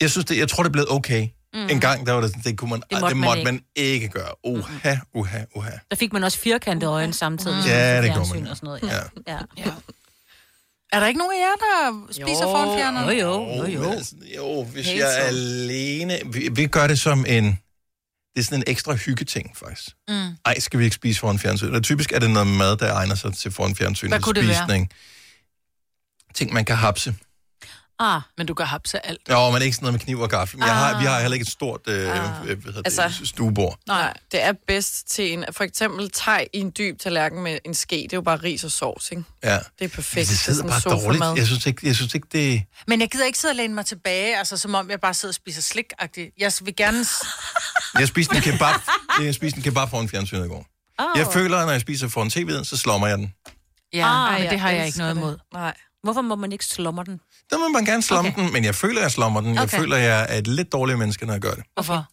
S1: Jeg synes det, jeg tror, det er blevet okay.
S3: Mhm.
S1: Mm. En gang, der var det, sådan, det kunne man, det måtte, det
S3: man
S1: måtte
S3: ikke. Mm.
S1: man, ikke. gøre. Oha, oha, oha.
S3: Der fik man også firkantede øjne samtidig.
S1: Mm.
S3: hvis man
S1: Ja,
S3: så
S1: det gjorde
S3: fjernsyn
S1: man, ja.
S3: Og sådan noget. Ja. ja. ja.
S2: Er der ikke nogen af jer, der spiser
S3: Jo.
S2: foran fjerneren?
S3: Jo, jo, jo,
S1: jo. altså, jo hvis
S2: Helt
S1: Helt jeg er
S2: så.
S1: alene... Vi, vi gør det som en... Det er sådan en ekstra hyggeting, faktisk.
S2: Mm.
S1: Ej, skal vi ikke spise foran fjernsynet? Og typisk er det noget mad, der egner sig til foran fjernsynet.
S2: Hvad kunne det være?
S1: spisning. Ting, man kan hapse.
S2: Ah, men du kan hapse alt.
S1: Jo, men ikke sådan noget med kniv og gaffel. Men jeg har,
S5: Ah.
S1: vi har heller ikke et stort øh, ah. hvad hedder det,
S5: Altså-
S1: altså, stuebord.
S5: Nej, det er bedst til en, for eksempel teg i en dyb tallerken med en ske, det er jo bare ris og sovs, ikke?
S1: Ja.
S5: Det er perfekt.
S1: Men det sidder
S5: sådan
S1: bare
S5: sofamad.
S1: dårligt. Jeg synes ikke, jeg synes ikke det...
S2: Men jeg gider ikke sidde og læne mig tilbage, altså som om jeg bare sidder og spiser slik -agtigt. Jeg vil gerne... s-
S1: Jeg spiste en kebab, jeg spiste en kebab foran fjernsynet i går. Oh. Jeg føler, at når jeg spiser foran tv'en, så slummer jeg den.
S2: Ja,
S3: Ah,
S2: ah, men det
S3: jeg
S2: har jeg ikke
S3: elsker
S2: noget
S3: det.
S2: imod.
S5: Nej.
S3: Hvorfor må man ikke slummer den?
S1: Der må man gerne slumme okay. den, men jeg føler, at jeg slummer den. Jeg
S3: Okay.
S1: okay. føler, at jeg er et lidt dårligt menneske, når jeg gør det.
S2: Hvorfor?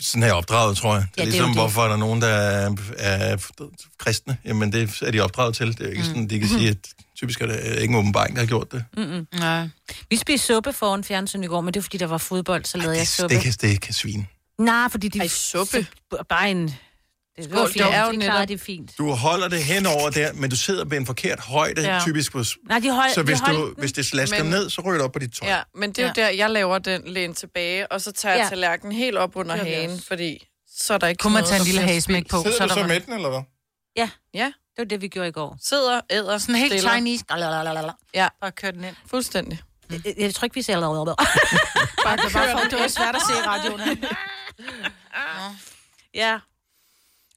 S1: Sådan her opdraget, tror jeg. Det
S2: Ja,
S1: er
S2: det er
S1: ja, ligesom,
S2: jo
S1: det
S2: det.
S1: er hvorfor er der nogen, der er, er kristne? Jamen, det er de opdraget til. Det er jo ikke
S3: Mm.
S1: sådan, de kan sige, at typisk er det ikke en åbenbaring, der har gjort det.
S3: Mm-mm.
S2: Nej.
S3: Vi spiste suppe foran fjernsyn i går, men det var fordi, der var fodbold, så lavede jeg suppe.
S1: Det kan, det kan svine.
S3: Nej, fordi de... Ej, suppe? Bare en... Det,
S5: Skål, det er jo
S3: det
S5: netop-
S3: klart, det er fint.
S1: Du holder det hen over der, men du sidder på en forkert højde,
S5: Ja.
S1: ja. typisk. På, s-
S3: Nej, de hold-
S1: så
S5: de
S1: hvis, du,
S5: holdt den,
S1: hvis det slasker
S5: men-
S1: men... ned, så ryger det op på dit tøj.
S5: Ja, men det er jo
S1: Ja.
S5: der, jeg laver den læn tilbage, og så tager jeg
S2: Ja.
S5: tallerkenen helt op under
S2: Det gør vi
S5: hagen, fordi så er der ikke
S2: Kunne man
S5: noget,
S2: tage en
S5: som
S2: lille
S5: bliver
S2: hagesmæk
S5: spildt.
S2: på, Sidder så er du der så bare-
S1: den, eller hvad?
S3: Ja.
S5: Ja.
S3: Det var det, vi gjorde i går.
S5: Sidder, æder,
S2: Sådan helt
S5: stiller.
S2: Chinese.
S5: Ja.
S2: Bare kør den ind.
S5: Fuldstændig.
S3: Jeg, jeg tror ikke, vi ser allerede.
S2: (laughs) Bare, det, bare for, det var svært at se i radioen.
S3: (laughs) Ja.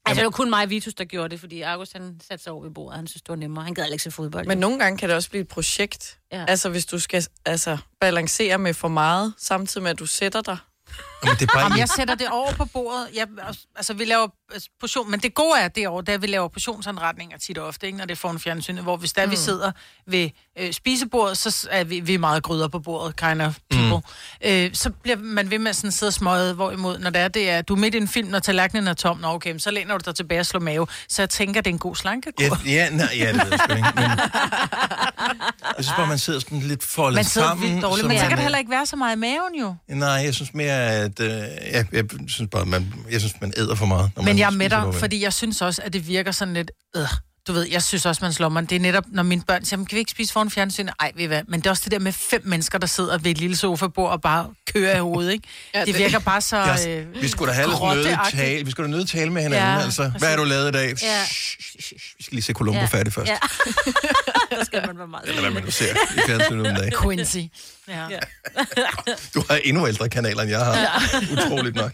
S3: Altså, det var kun mig og Vitus, der gjorde det, fordi Argus, han satte sig over ved bordet. Han synes, det var nemmere. Han gad heller ikke se fodbold.
S5: Men nogle gange kan det også blive et projekt.
S3: Ja.
S5: Ja. Altså, hvis du skal altså, balancere med for meget, samtidig med, at du sætter dig.
S1: Jamen, det er
S2: Om jeg sætter det over på bordet, jeg, altså vi laver altså, portion, men det gode er derovre, det er, at vi laver portionsanretninger tit og ofte, ikke, når det er foran fjernsynet, hvor hvis der mm. vi
S5: Mm.
S2: sidder ved øh, spisebordet, så s- er vi, vi er meget gryder på bordet, kind of people. Mm. Øh, så bliver man ved med at sådan sidde og smøge, hvorimod, når det er, det er, du er midt i en film, når tallerkenen er tom, nå okay, men så læner du dig tilbage og slår mave, så jeg tænker, det er en god slankekur.
S1: Ja, ja, nej, ja, det ved jeg sgu ikke. Men, jeg synes bare, man sidder sådan lidt foldet
S2: man sidder
S1: sammen.
S2: vildt dårligt,
S1: så
S2: men så
S1: man-
S2: kan det heller ikke være så meget i maven jo.
S1: Nej, jeg synes mere, at... Øh, jeg, jeg, synes bare, man, jeg synes, man æder for meget. når man
S2: Men jeg er med
S1: spiser
S2: dig,
S1: noget.
S2: fordi jeg synes også, at det virker sådan lidt... Øh, du ved, jeg synes også, man slår mig. Det er netop, når mine børn siger, "Men kan vi ikke spise foran fjernsynet? Ej, ved I hvad? Men det er også det der med fem mennesker, der sidder ved et lille sofabord og bare kører i hovedet, ikke? (laughs) ja, det, det virker bare så... øh,
S1: Det er også- vi skulle da have lidt nødt
S2: grotteagtigt.
S1: tale. Vi skulle da nødt tale med hinanden,
S2: Ja,
S1: ja, altså. Hvad
S2: præcis.
S1: har du lavet i dag?
S2: Ja.
S1: Vi skal lige se Columbo ja. færdig først. Ja.
S3: (laughs) Der skal man være meget.
S1: Eller hvad man nu ser i fjernsynet om dagen.
S2: Quincy. Ja. ja.
S1: Du har endnu ældre kanaler, end jeg har. Ja.
S2: (laughs)
S1: Utroligt nok.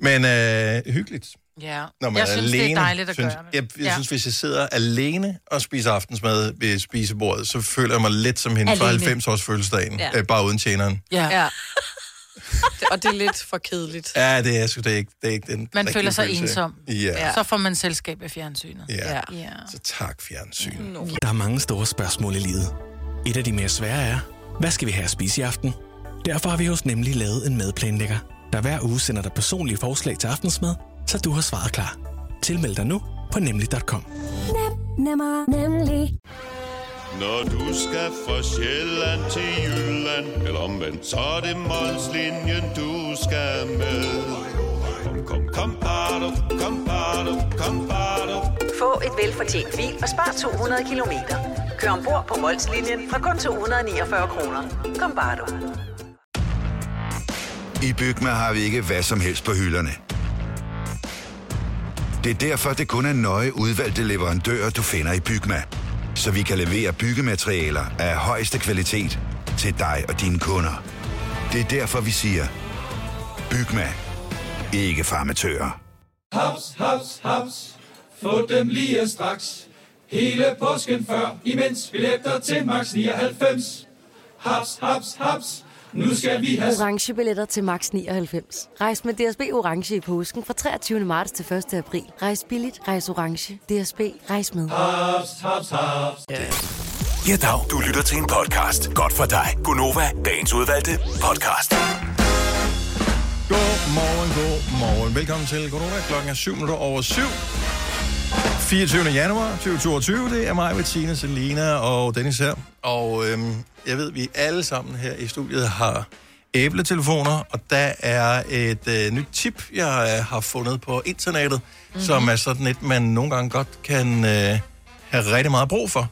S1: Men øh, hyggeligt.
S2: Ja.
S1: Når man
S2: jeg
S1: er
S2: synes,
S1: alene,
S2: det er dejligt at
S1: synes,
S2: gøre det.
S1: Jeg, jeg ja. synes, hvis jeg sidder alene og spiser aftensmad ved spisebordet, så føler jeg mig lidt som hende fra
S2: Alene.
S1: 90-års fødselsdagen, ja.
S5: Ja.
S1: øh, bare uden tjeneren.
S2: Ja. ja.
S5: Og det er lidt for kedeligt.
S1: Ja, det er sgu det er ikke, det er ikke den
S2: Man
S1: rigtige
S2: føler sig
S1: følelse.
S2: ensom.
S1: Ja. ja.
S2: Så får man selskab af fjernsynet.
S1: ja. ja.
S2: Ja.
S1: Så tak, fjernsyn. Mm.
S13: Der er mange store spørgsmål i livet. Et af de mere svære er, hvad skal vi have at spise i aften? Derfor har vi hos Nemlig lavet en madplanlægger, der hver uge sender dig personlige forslag til aftensmad, så du har svaret klar. Tilmeld dig nu på nemlig.com.
S14: Nem, nemmer, nemlig.
S15: Når du skal fra Sjælland til Jylland, eller omvendt, så er det Molslinjen, du skal med. Kom, kom, kom, bado, kom, bado, kom, bado.
S16: Få et velfortjent bil og spar 200 kilometer. Kør ombord på Molslinjen fra kun 249 kroner. Kom bare du.
S17: I Bygma har vi ikke hvad som helst på hylderne. Det er derfor, det kun er nøje udvalgte leverandører, du finder i Bygma. Så vi kan levere byggematerialer af højeste kvalitet til dig og dine kunder. Det er derfor, vi siger, Bygma. Ikke farmatører.
S18: Haps, haps, haps. Få dem lige straks. Hele påsken før, imens billetter til max 99. Haps, haps, haps. Nu skal vi have...
S19: orange billetter til max 99. Rejs med DSB orange i påsken fra 23. marts til 1. april. Rejs billigt, rejs orange. DSB rejs med.
S18: Haps, haps, haps.
S20: Ja, dag. Du lytter til en podcast. Godt for dig. Gunova, dagens udvalgte podcast.
S1: Godmorgen, godmorgen. Velkommen til Godnova. Klokken er 7 minutter over 7. 24. januar 2022. Det er mig, Bettina, Selina og Dennis her. Og øhm, jeg ved, vi alle sammen her i studiet har æbletelefoner, og der er et øh, nyt tip, jeg øh, har fundet på internettet, mm-hmm. som er sådan et, man nogle gange godt kan øh, have rigtig meget brug for.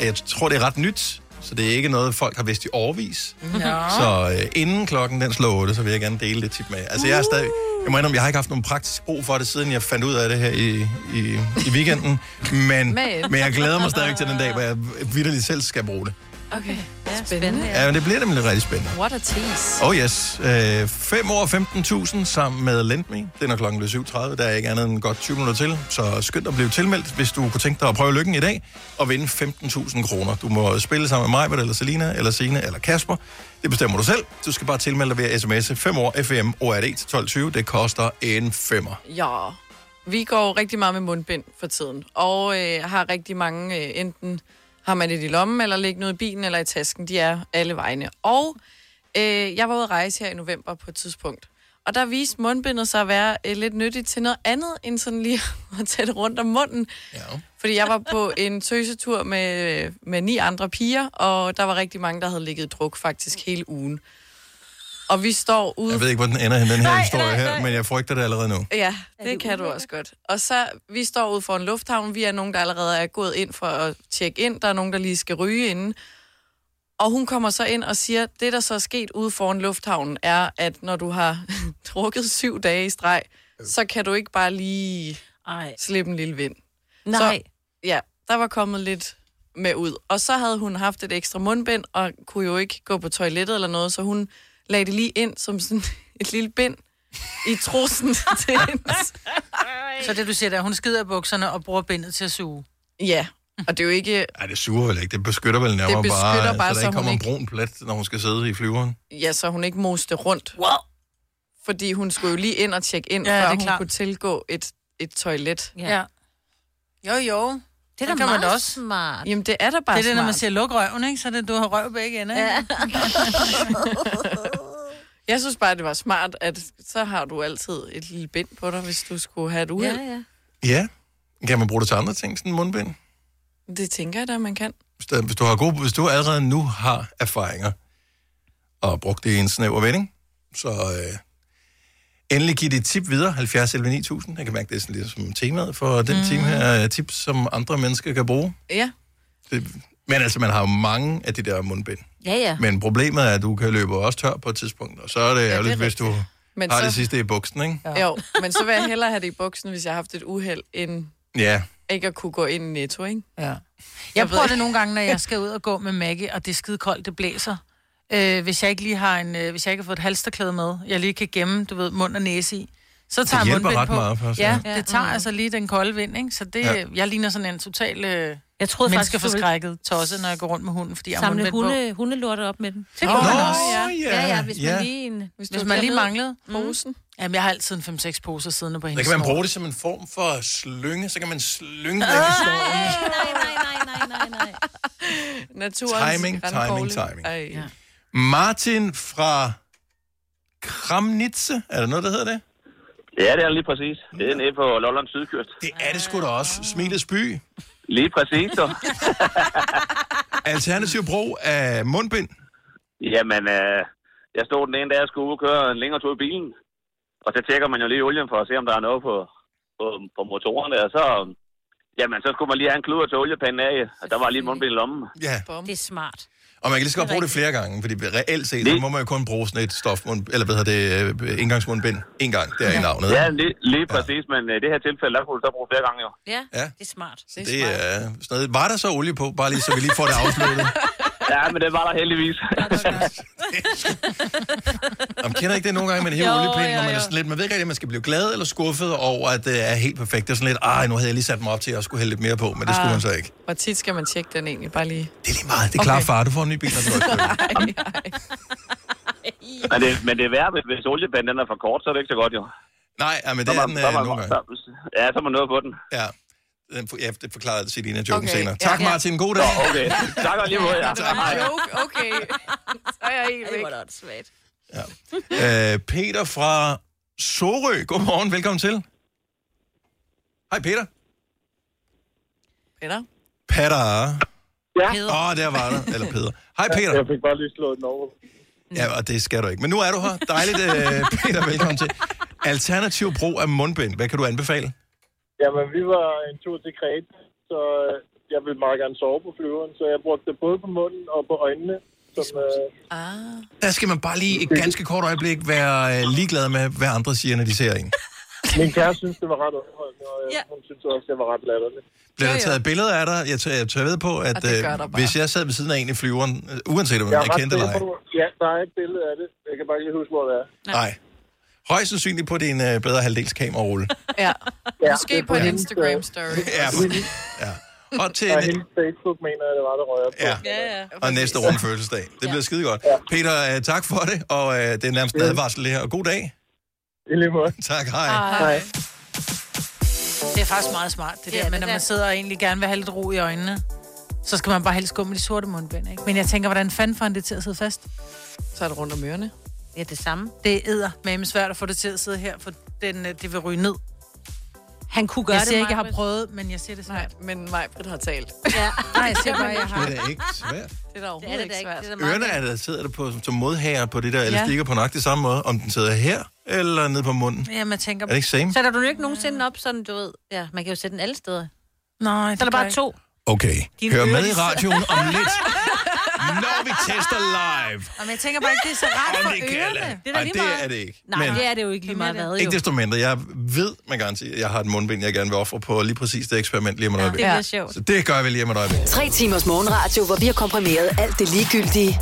S1: Jeg tror, det er ret nyt, så det er ikke noget, folk har vidst i årvis.
S4: Nå.
S1: Så øh, inden klokken den slår 8, så vil jeg gerne dele det tip med jer. Altså, jeg, er stadig, jeg må indrømme, jeg har ikke haft nogen praktisk brug for det, siden jeg fandt ud af det her i, i, i weekenden. Men,
S5: Men.
S1: men jeg glæder mig stadigvæk til den dag, hvor jeg vidderligt selv skal bruge det.
S5: Okay. Ja, spændende.
S1: Ja, men det bliver nemlig rigtig spændende.
S5: What a tease.
S1: Oh yes. Øh, 5 år og 15.000 sammen med LendMe. Det er når klokken bliver 7.30. Der er ikke andet end godt 20 minutter til. Så skynd at blive tilmeldt, hvis du kunne tænke dig at prøve lykken i dag og vinde 15.000 kroner. Du må spille sammen med mig, eller Selina, eller Sine, eller Kasper. Det bestemmer du selv. Du skal bare tilmelde dig via sms'e 5 år FM ORD til 12.20. Det koster en femmer.
S5: Ja, vi går rigtig meget med mundbind for tiden, og øh, har rigtig mange, øh, enten har man det i lommen, eller ligger noget i bilen, eller i tasken, de er alle vegne. Og øh, jeg var ude at rejse her i november på et tidspunkt, og der viste mundbindet sig at være øh, lidt nyttigt til noget andet, end sådan lige (laughs) at tage det rundt om munden.
S1: Ja.
S5: Fordi jeg var på en tøsetur med, med ni andre piger, og der var rigtig mange, der havde ligget i druk faktisk hele ugen. Og vi står ude
S1: Jeg ved ikke, hvor den ender henne, den her
S5: Nej,
S1: historie
S5: nej,
S1: her,
S5: nej.
S1: men jeg frygter det allerede nu.
S5: Ja, det, det kan du også godt. Og så, vi står ude for en lufthavn. Vi er nogen, der allerede er gået ind for at tjekke ind. Der er nogen, der lige skal ryge inden. Og hun kommer så ind og siger, det der så er sket ude foran lufthavnen, er, at når du har (laughs) drukket syv dage i streg, så kan du ikke bare lige Ej. slippe en lille vind. Så,
S3: Nej.
S5: ja, der var kommet lidt med ud. Og så havde hun haft et ekstra mundbind, og kunne jo ikke gå på toilettet eller noget, så hun lagde det lige ind som sådan (laughs) et lille bind i
S2: (laughs)
S5: trussen til hendes.
S2: Så det, du siger, der, hun skider i bukserne og bruger bindet til at suge.
S5: Ja, og det er jo ikke...
S1: Nej, det suger vel ikke. Det beskytter vel nærmere
S5: beskytter
S1: bare,
S5: bare, så
S1: så der ikke
S5: hun
S1: kommer en
S5: ikke-
S1: brun plet, når hun skal sidde i flyveren.
S5: Ja, så hun ikke moste rundt. Wow. Fordi hun skulle jo lige ind og tjekke ind,
S2: Ja,
S5: ja,
S2: det er
S5: før hun
S2: klart.
S5: kunne tilgå et, et toilet.
S2: Ja. Jo, jo. Det
S3: er da
S2: kan man
S3: meget
S2: også. smart.
S5: Jamen, det er da bare
S2: det er det, når man
S5: smart.
S2: siger, luk røven, ikke? Så er det, du har røv begge ender, ikke?
S5: Jeg synes bare, det var smart, at så har du altid et lille bind på dig, hvis du skulle have et uheld. Ja,
S1: Ja. Kan man bruge det til andre ting, sådan en mundbind?
S5: ja. Det tænker jeg da, man kan.
S1: hvis der- hvis du, har gode, hvis du allerede nu har erfaringer og brugt det i en snæver vending, så øh, endelig giv dit tip videre, 70 11 9000. Jeg kan mærke, det er sådan lidt som temaet for den mm. time her, øh, tips, som andre mennesker kan bruge.
S5: Ja.
S1: Det, men altså, man har jo mange af de der mundbind.
S3: Ja, ja.
S1: Men problemet er, at du kan løbe også tør på et tidspunkt, og så er det ja, ærgerligt,
S5: er
S1: hvis du
S5: Men
S1: har
S5: så-
S1: det sidste i buksen, ikke?
S5: Ja. Jo, men så vil jeg hellere have det i buksen, hvis jeg har haft et uheld, end
S1: Ja.
S5: ikke at kunne gå ind i netto, ikke?
S2: Ja. Jeg,
S5: Jeg
S2: jeg
S5: ved
S2: prøver det
S5: ikke.
S2: nogle gange, når (laughs) jeg skal ud og gå med Maggie, og det er skide koldt, det blæser. Øh, hvis jeg ikke lige har en, øh, hvis jeg ikke har fået et halsterklæde med, jeg lige kan gemme, du ved, mund og næse i, Så tager jeg
S1: Det hjælper
S2: mundbind
S1: ret
S2: på.
S1: meget for os,
S2: ja,
S1: ja.
S2: det tager altså lige den kolde vind, ikke? Så det,
S1: Ja.
S2: ja. jeg ligner sådan en total øh,
S3: Jeg troede faktisk, du ville-
S2: menneskeforskrækket tosse, når jeg går rundt med hunden, fordi jeg har
S3: Samle
S2: mundbind på.
S3: hunde, hundelorte op med den.
S2: Det går man også.
S3: ja. Ja, ja, hvis man lige... En,
S5: Hvis,
S2: Hvis
S5: du
S2: man
S5: har
S2: lige
S5: dernede
S2: manglede.
S5: Posen.
S2: Jamen, jeg har altid en 5-6 poser siddende på
S1: Der
S2: hendes
S1: kan man
S2: snor.
S1: bruge det som en form for slynge, så kan man slynge den i snoren.
S3: Nej, nej, nej, nej, nej, nej.
S5: Naturens
S1: Timing,
S5: grandkogle.
S1: timing, timing.
S5: Ej. Ja.
S1: Martin fra Kramnitze, er der noget, der hedder det?
S21: Ja, det er lige præcis. Det er nede på Lollands sydkyst.
S1: Det er det sgu da også. Smilets by.
S21: Lige præcis, så.
S1: (laughs) Alternativ brug af mundbind.
S21: Jamen, øh, jeg stod den ene dag, jeg skulle ud og køre en længere tur i bilen. Og så tjekker man jo lige olien for at se, om der er noget på, på, på motoren der. Og så, jamen, så skulle man lige have en kluder til oliepanden af, og der var lige et mundbind i lommen.
S1: Ja,
S3: Det er smart.
S1: og man kan lige så godt bruge det flere gange, fordi reelt set, så må man jo kun bruge sådan et stofmund, eller hvad hedder det, øh, indgangsmundbind en gang, det er i navnet.
S21: Ja, lige, lige præcis, men øh, i det her tilfælde, der kunne du så bruge flere gange jo.
S3: Ja,
S1: Ja.
S3: det er smart.
S1: Det er sådan noget. Var der så olie på, bare lige så vi lige får det (laughs) afsluttet?
S21: Ja, men det var der heldigvis. (laughs)
S1: Man kender ikke det nogle gange med det
S21: Jo,
S1: hele oliepind,
S21: jo,
S1: når man er
S21: jo.
S1: sådan lidt, man ved ikke rigtig, om man skal blive glad eller skuffet over, at det er helt perfekt. Det er sådan lidt, ej, nu havde jeg lige sat mig op til, at jeg skulle hælde lidt mere på, men det skulle
S5: Ah.
S1: man så ikke.
S5: Hvor tit skal man tjekke den egentlig? Bare lige...
S1: Det er lige meget. Det er klart, far, du får en ny bil, når
S5: (laughs)
S1: du er
S21: men, det, men det er værre, hvis- hvis oliepanden den er for kort, så er det ikke så godt jo.
S1: Nej, ja, men
S21: Så
S1: det
S21: må-
S1: er den
S21: så
S1: øh,
S21: må-
S1: nogle gange.
S21: så- Ja, så er man noget på den.
S1: Ja. Den- Ja, det forklarede Selina
S5: Okay,
S1: joken senere.
S5: ja,
S1: Tak,
S5: ja.
S1: Martin. God dag.
S21: Nå, okay. Tak og lige måde, ja.
S5: Det var en joke, okay. Så er jeg helt væk. Det var da svært.
S1: Øh, Peter fra Sorø. Godmorgen. Velkommen til. Hej, Peter.
S5: Peter?
S1: Peter.
S22: Ja.
S1: Åh, oh, der var der. Eller Peter. Hej, Peter.
S22: Jeg fik bare lige slået den over.
S5: Mm.
S1: Ja, og det skal du ikke. Men nu er du her. Dejligt, øh, Peter. Velkommen til. Alternativ brug af mundbind. Hvad kan du anbefale?
S22: Jamen, vi var en tur til Kreta, så øh, jeg ville meget gerne sove på flyveren, så jeg brugte det både på munden og på øjnene. Som, øh,
S1: Der skal man bare lige et ganske kort øjeblik være øh, ligeglad med, hvad andre siger, når de
S22: (laughs)
S1: ser en.
S22: min kæreste synes, det var ret underholdende, og øh, hun synes også, det var ret latterligt.
S1: Bliver der taget billeder af dig? Jeg tør, jeg tør ved på, at
S22: det gør der
S1: øh,
S22: bare.
S1: hvis jeg sad ved siden af en i flyveren, øh, uanset om
S22: Jeg
S1: jeg,
S22: er ret
S1: kendte eller
S22: sikker
S1: ej,
S22: på- Ja, der er et billede af det. Jeg kan bare ikke lige huske, hvor det er.
S1: Nej. Højst sandsynligt på din øh, bedre halvdels
S22: (laughs)
S1: kamerarulle.
S5: Ja.
S22: Ja,
S5: Måske
S22: det er
S5: på en
S22: hende,
S5: Instagram
S22: øh,
S5: story.
S1: Ja. ja. Og til
S22: Og hendes Facebook mener jeg, det var det røger på.
S1: Ja.
S5: Ja,
S1: og næste runde fødselsdag. Det bliver skide godt. Peter, øh, tak for det, og øh, det er nærmest en advarsel det her. Og god dag.
S22: I lige måde.
S1: Tak, hej.
S2: Hej. Det er faktisk meget smart, det
S4: Ja,
S2: der. Ja,
S4: det
S2: men når
S4: der.
S2: man sidder og egentlig gerne vil have lidt ro i øjnene, så skal man bare helst gå med de sorte mundbind, ikke? Men jeg tænker, hvordan fanden får han det til at sidde fast?
S5: (laughs) Så er det rundt om ørerne.
S2: Ja, det samme. Det æder med svært at få det til at sidde her, for den, øh, det vil ryge ned.
S3: Han kunne
S2: jeg siger ikke, jeg har prøvet, men jeg siger det svært.
S5: Nej, men Majbrit har (laughs) talt.
S3: (laughs) Ja.
S2: Nej, jeg siger bare, jeg
S1: Det er
S2: har.
S1: da ikke svært.
S5: Det er da overhovedet det er det ikke svært. Det er
S1: Ørerne er der, sidder der på, som modhager på det der
S2: Ja.
S1: elastikker på nok det samme måde, om den sidder her eller nede på munden.
S2: Jamen, jeg tænker...
S1: Er det ikke same?
S3: Sætter du den ikke nogensinde op sådan, du ved? Ja, man kan jo sætte den alle steder.
S2: Nej,
S3: Så er der bare to.
S1: Okay,
S3: Dine
S1: hør
S3: ører,
S1: med
S3: de
S1: i
S3: sidder-
S1: radioen om
S2: (laughs)
S1: lidt, når vi tester live.
S2: Jamen, jeg tænker bare ikke, det er så rart for
S1: Om det kan
S2: ørerne.
S1: lade. Ej, det er det ikke.
S3: Nej,
S1: Men-
S3: det er det jo ikke lige meget hvad, jo.
S1: Ikke desto mindre. Jeg ved med garanti, at jeg har et mundbind, jeg gerne vil ofre på lige præcis det eksperiment lige om et øjeblik.
S6: det bliver sjovt.
S1: Så det gør vi lige om et øjeblik.
S6: Tre timers morgenradio, hvor vi har komprimeret alt det ligegyldige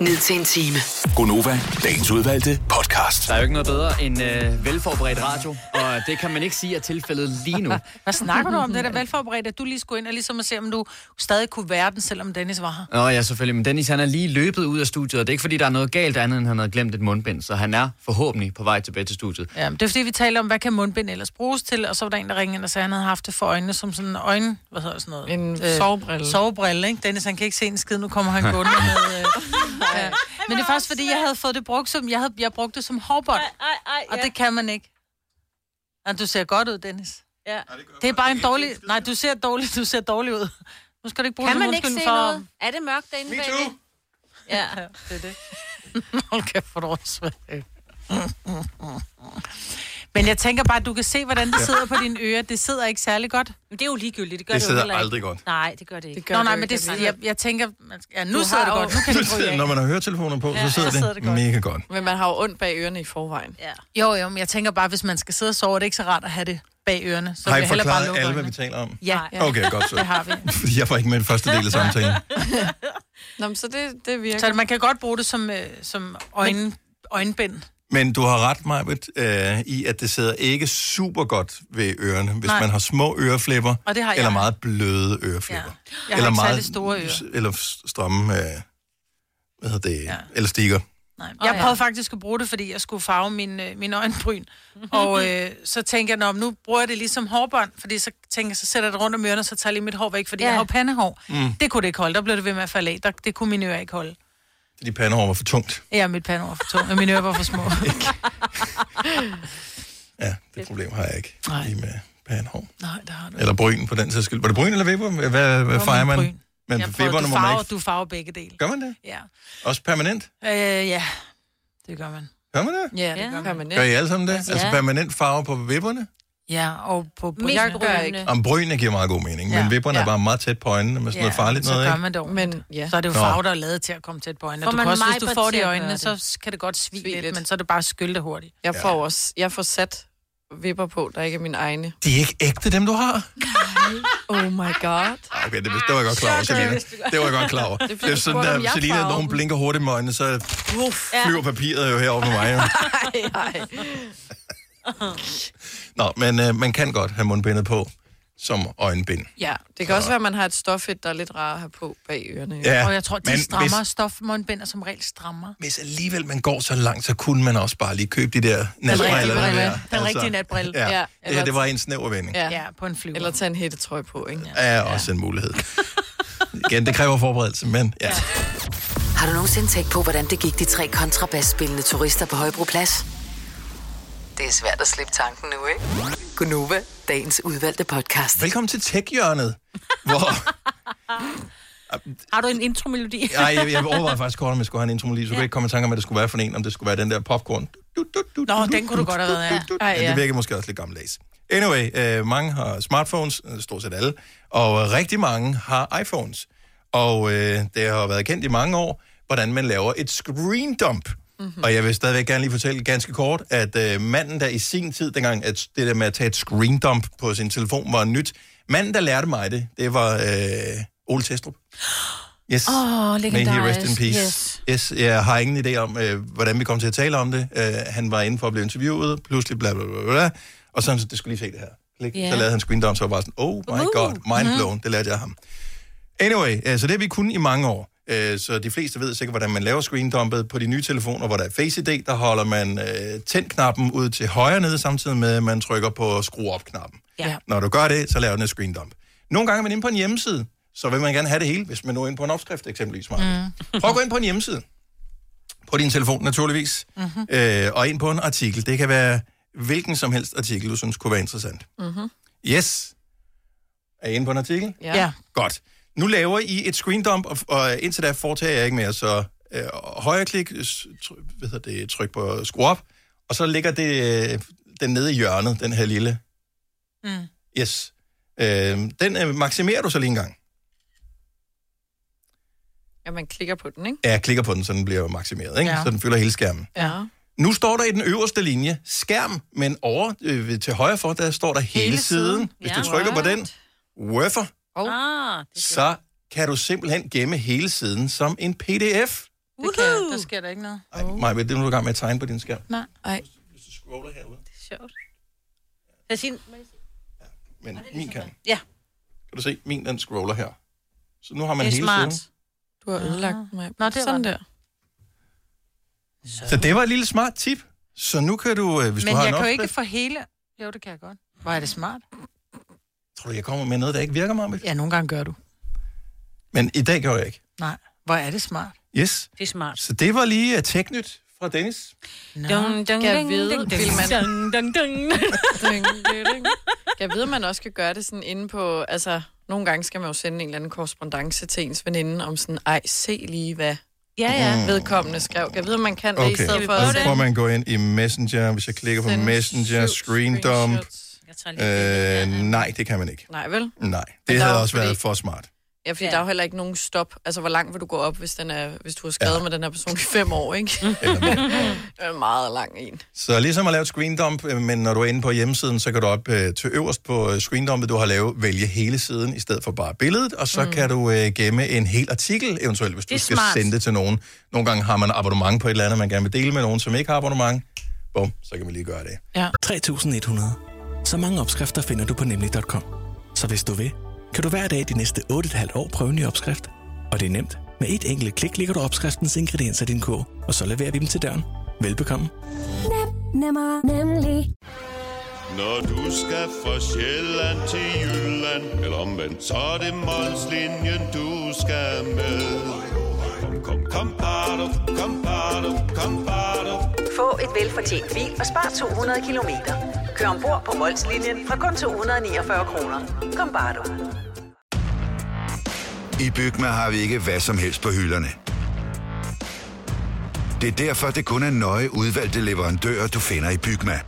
S6: ned til en time.
S20: Gonova, dagens udvalgte podcast.
S23: Der er jo ikke noget bedre end øh, velforberedt radio, og det kan man ikke sige er tilfældet lige
S22: (laughs)
S23: nu.
S2: Hvad snakker du om? Det er da velforberedt, at du lige skulle ind og ligesom at se, om du stadig kunne være den, selvom Dennis var her.
S23: Nå ja, selvfølgelig, men Dennis han er lige løbet ud af studiet, og det er ikke fordi, der er noget galt andet, end han havde glemt et mundbind, så han er forhåbentlig på vej tilbage til studiet.
S2: Ja, men det er fordi, vi taler om, hvad kan mundbind ellers bruges til, og så var der en, der ringede ind og sagde, at han havde haft det for øjnene som sådan en øjne... Hvad hedder sådan noget? Øh,
S5: En sovebrille.
S2: Sovebrille, ikke? Dennis, han kan ikke se en skid, nu kommer han gående med...
S5: (laughs)
S2: Øh, ja. Men det er faktisk, fordi jeg havde fået det brugt som... Jeg, havde, jeg brugte det som hårbånd, og det kan man ikke. Ja, du ser godt ud, Dennis.
S3: Ja.
S2: Det er bare en dårlig... Nej, du ser dårlig, du ser dårlig ud. Nu skal du ikke bruge
S3: Kan
S2: det som
S3: man ikke se
S2: undskyldning for...
S3: noget? Er det mørkt derinde
S2: Me
S3: bagved?
S2: too.
S3: Ja.
S2: det er det. (laughs) Hold kæft, hvor er du åndssvagt. Men jeg tænker bare, at du kan se, hvordan det
S1: Ja.
S2: sidder på dine ører. Det sidder ikke særlig godt.
S3: Men det er jo ligegyldigt.
S1: gør Det det jo sidder heller ikke. aldrig godt.
S3: Nej, det gør det ikke.
S2: (laughs) Det gør Nå, nej, men det,
S1: Altså-
S2: jeg, jeg tænker... man skal- Ja, nu sidder det godt. Nu kan
S1: Nu
S2: det
S1: (laughs)
S2: ryge
S1: sidder,
S2: af.
S1: når man har høretelefoner på,
S2: Ja,
S1: så sidder,
S2: så sidder det
S1: det
S2: godt.
S1: mega godt.
S5: Men man har jo ondt bag ørerne i forvejen.
S3: Ja.
S2: Jo, jo, men jeg tænker bare, hvis man skal sidde og sove, er det ikke så rart at have det bag ørerne. Så
S1: har
S2: vil
S1: I
S2: jeg hellere bare
S1: forklaret
S2: lukke
S1: alle, hvad
S2: øjnene.
S1: vi taler om?
S2: Ja.
S1: Okay,
S2: (laughs)
S1: godt så.
S2: Det har vi.
S1: Fordi (laughs) Jeg var ikke med i den første del af samtalen.
S5: Nå, men så det, det virker.
S1: (laughs)
S2: Så man kan godt bruge det som, øh, som øjne, øjenbind.
S1: Men du har ret, Majbet, øh, i at det sidder ikke super godt ved ørerne, hvis
S2: Nej.
S1: man har små øreflipper,
S2: Og det har jeg.
S1: eller meget bløde øreflipper.
S2: Ja. Jeg har
S1: eller
S2: ikke særlig store ører.
S1: s- Eller s- stramme, øh, hvad hedder det, ja. eller stikker.
S2: Nej, jeg prøvede faktisk at bruge det, fordi jeg skulle farve min, øh, min øjenbryn. Og øh, (laughs) så tænker jeg, "Nå, men nu bruger jeg det ligesom hårbånd, fordi så tænker jeg, så sætter jeg det rundt om ørerne, og så tager jeg lige mit hår væk, fordi ja. jeg har jo pandehår.
S1: Mm.
S2: Mm. Det kunne det ikke holde. Der blev det ved med at falde af. Der, det kunne mine ører ikke holde.
S1: Fordi pandehår var for tungt.
S2: Ja, mit pandehår var for tungt, og mine ører var for
S1: (laughs)
S2: små.
S1: Ja, det problem har jeg ikke Nej. lige med pandehår.
S2: Nej, det har du.
S1: Eller bryn på den sags skyld. Var det bryn eller vipper? Hvad, hvad, hvad
S2: var
S1: fejrer
S2: min
S1: man?
S2: bryn.
S1: Men
S2: Jeg prøvede,
S1: vipperne
S2: du
S1: må man
S2: farver,
S1: ikke.
S2: du farver begge dele.
S1: Gør man det?
S2: Ja.
S1: Også permanent?
S2: Øh, ja, det gør man.
S1: Gør man det?
S2: Ja, det gør man.
S1: Gør I alle sammen det? Ja. Altså
S2: Ja.
S1: permanent farve på vipperne?
S2: Ja, og på brynene.
S5: Mest Jeg gør ikke.
S1: Om brynene giver meget god mening, ja.
S2: Ja.
S1: men vipperne ja. er
S2: Ja.
S1: bare meget tæt på øjnene med sådan noget farligt
S2: så
S1: noget,
S2: gør
S1: ikke?
S2: man det
S5: Men, ja.
S2: Så er det jo
S1: Nå.
S2: farver, der er lavet til at komme tæt på øjnene.
S5: Får
S2: Du
S5: man
S2: kan også, hvis
S5: Majbert
S2: du får
S5: til
S2: det i
S5: at gøre
S2: øjnene,
S5: det?
S2: så kan det godt svige lidt, men så er det bare at skylle det hurtigt.
S5: Jeg
S2: Ja.
S5: får også, jeg får sat vipper på, der ikke er mine egne.
S1: De er ikke ægte, dem du har?
S5: Oh my god.
S1: Ah, Okay, det, vidste- det var jeg godt
S5: (laughs)
S1: klar over,
S5: Shocker.
S1: Selina. Det var jeg godt klar over.
S5: Det er fordi,
S1: Det er
S5: du
S1: sådan,
S5: spurgte, om
S1: at
S5: jeg
S1: Selina, når
S5: farvede
S1: hun
S5: dem.
S1: blinker hurtigt med øjnene, så flyver papiret jo herover med mig. jo.
S5: (laughs) Ej, ej.
S1: Nå, men øh, man kan godt have mundbindet på som øjenbind.
S5: Ja, det kan også være, at man har et stofhæt, der er lidt rart at have på bag ørerne.
S1: Ja,
S2: og jeg tror, de
S1: men
S2: men strammer
S1: hvis-
S2: hvis... stofmundbinder som regel strammer.
S1: Hvis alligevel man går så langt, så kunne man også bare lige købe de der natbriller.
S2: rigtige
S1: der.
S2: brille.
S1: altså-
S2: Den rigtige natbrille.
S1: Ja.
S2: Ja.
S1: ja. Det her, det var en snæver vending.
S5: Ja.
S2: ja, på en flyver.
S5: Eller tage en hættetrøje på, ikke? Ja.
S1: Er også en mulighed. Igen, det kræver forberedelse, men ja.
S6: Har du nogensinde tænkt på, hvordan det gik de tre kontrabasspillende turister på Højbroplads? Det er svært at slippe tanken nu, ikke? Gunova, dagens udvalgte podcast.
S1: Velkommen til tech-hjørnet, hvor...
S3: Har du en intromelodi?
S2: (laughs)
S1: Ej, jeg, jeg overvejede faktisk kort, om jeg skulle have en intromelodi, så kunne jeg ikke komme i tanke om, hvad det skulle være for en, om det skulle være den der popcorn.
S2: Nå, den kunne du godt have været, ja.
S1: Ja, det virker måske også lidt gammeldags. Anyway, øh, mange har smartphones, øh, stort set alle, og øh, rigtig mange har iPhones. Og øh, det har været kendt i mange år, hvordan man laver et screen dump.
S2: Mhm.
S1: Mm-hmm. Og jeg vil stadigvæk gerne lige fortælle ganske kort, at øh, manden, der i sin tid, dengang at det der med at tage et screen dump på sin telefon var nyt, manden, der lærte mig det, det var øh, Ole Testrup. Yes.
S2: Åh,
S1: May he
S2: legendarisk.
S1: rest in peace. Yes. yes. Jeg har ingen idé om, øh, hvordan vi kom til at tale om det. Øh, han var inde for at blive interviewet, pludselig bla bla bla, bla og så det skulle lige se det her. Klik.
S20: Ja.
S1: Så lavede han screen down, så var bare sådan, oh my god, mind blown, det lærte jeg af ham. Anyway, øh, så det har vi kun i mange år. Øh, Så de fleste ved sikkert, hvordan man laver screendumpet på de nye telefoner, hvor der er Face ID, der holder man øh, tændknappen ud til højre nede, samtidig med, at man trykker på skru op-knappen.
S2: Ja.
S1: Når du gør det, så laver den et screendump. Nogle gange er man inde på en hjemmeside, så vil man gerne have det hele, hvis man nu er inde på en opskrift eksempelvis. Maja. Mm. Prøv at gå ind på en hjemmeside. På din telefon naturligvis. Mm-hmm. Øh, og ind på en artikel. Det kan være hvilken som helst artikel, du synes kunne være interessant.
S5: Mm-hmm.
S1: Yes. Er I inde på en artikel?
S5: Ja. Ja.
S1: Godt. Nu laver I et screendump, og, og indtil da foretager jeg ikke mere, så øh, højreklik, øh, s- try- hvad hedder det, tryk på skru op, og så ligger det, øh, den nede i hjørnet, den her lille.
S2: Mm.
S1: Yes. Øh, den øh, maksimerer du så lige en gang.
S5: ja, man klikker på den, ikke?
S1: Ja, jeg klikker på den, så den bliver maksimeret, ikke? Ja.
S5: Ja.
S1: så den fylder hele skærmen.
S5: Ja.
S1: Nu står der i den øverste linje skærm, men over øh, ved- til højre for, der står der hele, hele
S2: Hele
S1: siden.
S2: siden.
S1: siden. Hvis
S2: Ja.
S1: du trykker på den, woofer,
S5: Oh.
S3: Ah,
S1: så kan du simpelthen gemme hele siden som en pdf.
S2: Det kan, der sker der ikke noget.
S1: Oh. Maja, det er nu du er i gang med at tegne på din skærm.
S2: Nej.
S5: Ej.
S1: Scroller herude,
S3: Det er sjovt. Lad os sige,
S1: men min kan.
S3: ja.
S1: Kan du se, min den scroller her. Så nu har man
S2: Det er
S1: hele
S2: smart.
S1: siden.
S5: Du har ødelagt mig.
S2: Nå, det var
S5: Sådan
S2: det.
S5: der. (laughs)
S1: Så det var et lille smart tip. Så nu kan du, øh, hvis
S2: Men
S1: du har
S2: jeg
S1: en
S2: kan jo ikke
S1: opskrift-
S2: få hele... Jo, det kan jeg godt. Hvor er det smart?
S1: Tror du, jeg kommer med noget, der ikke virker, Maja?
S2: Ja, nogle gange gør du.
S1: Men i dag gjorde jeg ikke.
S2: Nej, hvor er det smart.
S1: Yes.
S3: Det er smart.
S1: Så det var lige uh, teknyt fra Dennis.
S2: Nå.
S3: Dun, dun,
S5: Skal jeg
S3: dun,
S5: vide,
S3: dun,
S5: vil man-
S3: dun, dun, dun.
S5: Ding, ding, ding. Jeg ved, at man også kan gøre det sådan inde på... Altså, nogle gange skal man jo sende en eller anden korrespondence til ens veninde om sådan, ej, se lige, hvad
S3: Ja,
S1: Mm.
S3: ja.
S5: vedkommende skrev. Jeg ved, at man kan det i
S1: Okay,
S5: stedet for
S1: og
S5: at
S1: så prøver
S5: sende...
S1: man at gå ind i Messenger. Hvis jeg klikker på
S5: Send
S1: Messenger,
S5: syv
S1: Screen Dump.
S3: Jeg tager lige
S1: Øh, nej, det kan man ikke.
S5: Nej, vel?
S1: Nej,
S5: der
S1: det
S5: er
S1: havde
S5: jo
S1: også
S5: fordi-
S1: været for smart.
S5: Ja, fordi ja. der er jo heller ikke nogen stop. Altså, hvor langt vil du gå op, hvis, den er, hvis du har skrevet ja. med den her person i fem år, ikke?
S1: Mm.
S5: det er en meget lang en.
S1: Så ligesom at lave et screen dump, øh, men når du er inde på hjemmesiden, så kan du op øh, til øverst på øh, screen dumpet, du har lavet, vælge hele siden i stedet for bare billedet, og så mm. kan du øh, gemme en hel artikel eventuelt, hvis
S2: Det
S1: du
S2: er
S1: skal
S2: smart.
S1: sende det til nogen. Nogle gange har man abonnement på et eller andet, man gerne vil dele med nogen, som ikke har abonnement. Bum, så kan man lige gøre det.
S2: Ja.
S13: 3.100. Så mange opskrifter finder du på nemlig.com. Så hvis du vil, kan du hver dag de næste 8,5 år prøve en ny opskrift. Og det er nemt. Med et enkelt klik ligger du opskriftens ingredienser i din kog, og så leverer vi dem til døren. Velbekomme.
S14: Nem, nemmer, nemlig.
S15: Når du skal fra Sjælland til Jylland, eller omvendt, så er det Molslinjen, du skal med. Kom, kom, kom, bado, kom, bado, kom, bado.
S16: Få et velfortjent bil og spar 200 kilometer. Kør ombord på Molslinjen fra kun 249 kroner. Kom bare du.
S17: I Bygma har vi ikke hvad som helst på hylderne. Det er derfor, det kun er nøje udvalgte leverandører, du finder i Bygma.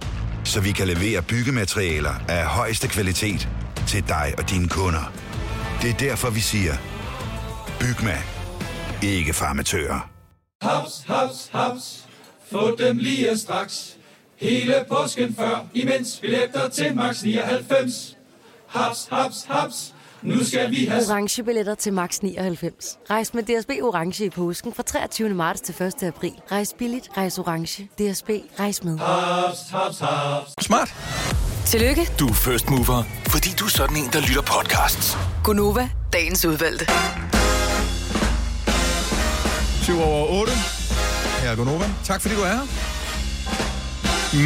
S17: Så vi kan levere byggematerialer af højeste kvalitet til dig og dine kunder. Det er derfor, vi siger, Bygma. Ikke farmatører.
S18: Haps, haps, haps. Få dem lige straks. Hele påsken før, imens billetter til max 99. Haps, haps, haps. Nu skal vi have...
S19: Orange billetter til max 99. Rejs med DSB Orange i påsken fra 23. marts til 1. april. Rejs billigt, rejs orange. DSB, rejs med.
S18: Haps, haps, haps.
S1: Smart.
S6: Tillykke,
S20: Du er first mover, fordi du er sådan en, der lytter podcasts.
S6: Gunova, dagens udvalgte.
S1: 7 over 8. Her er Gunova. Tak fordi du er her.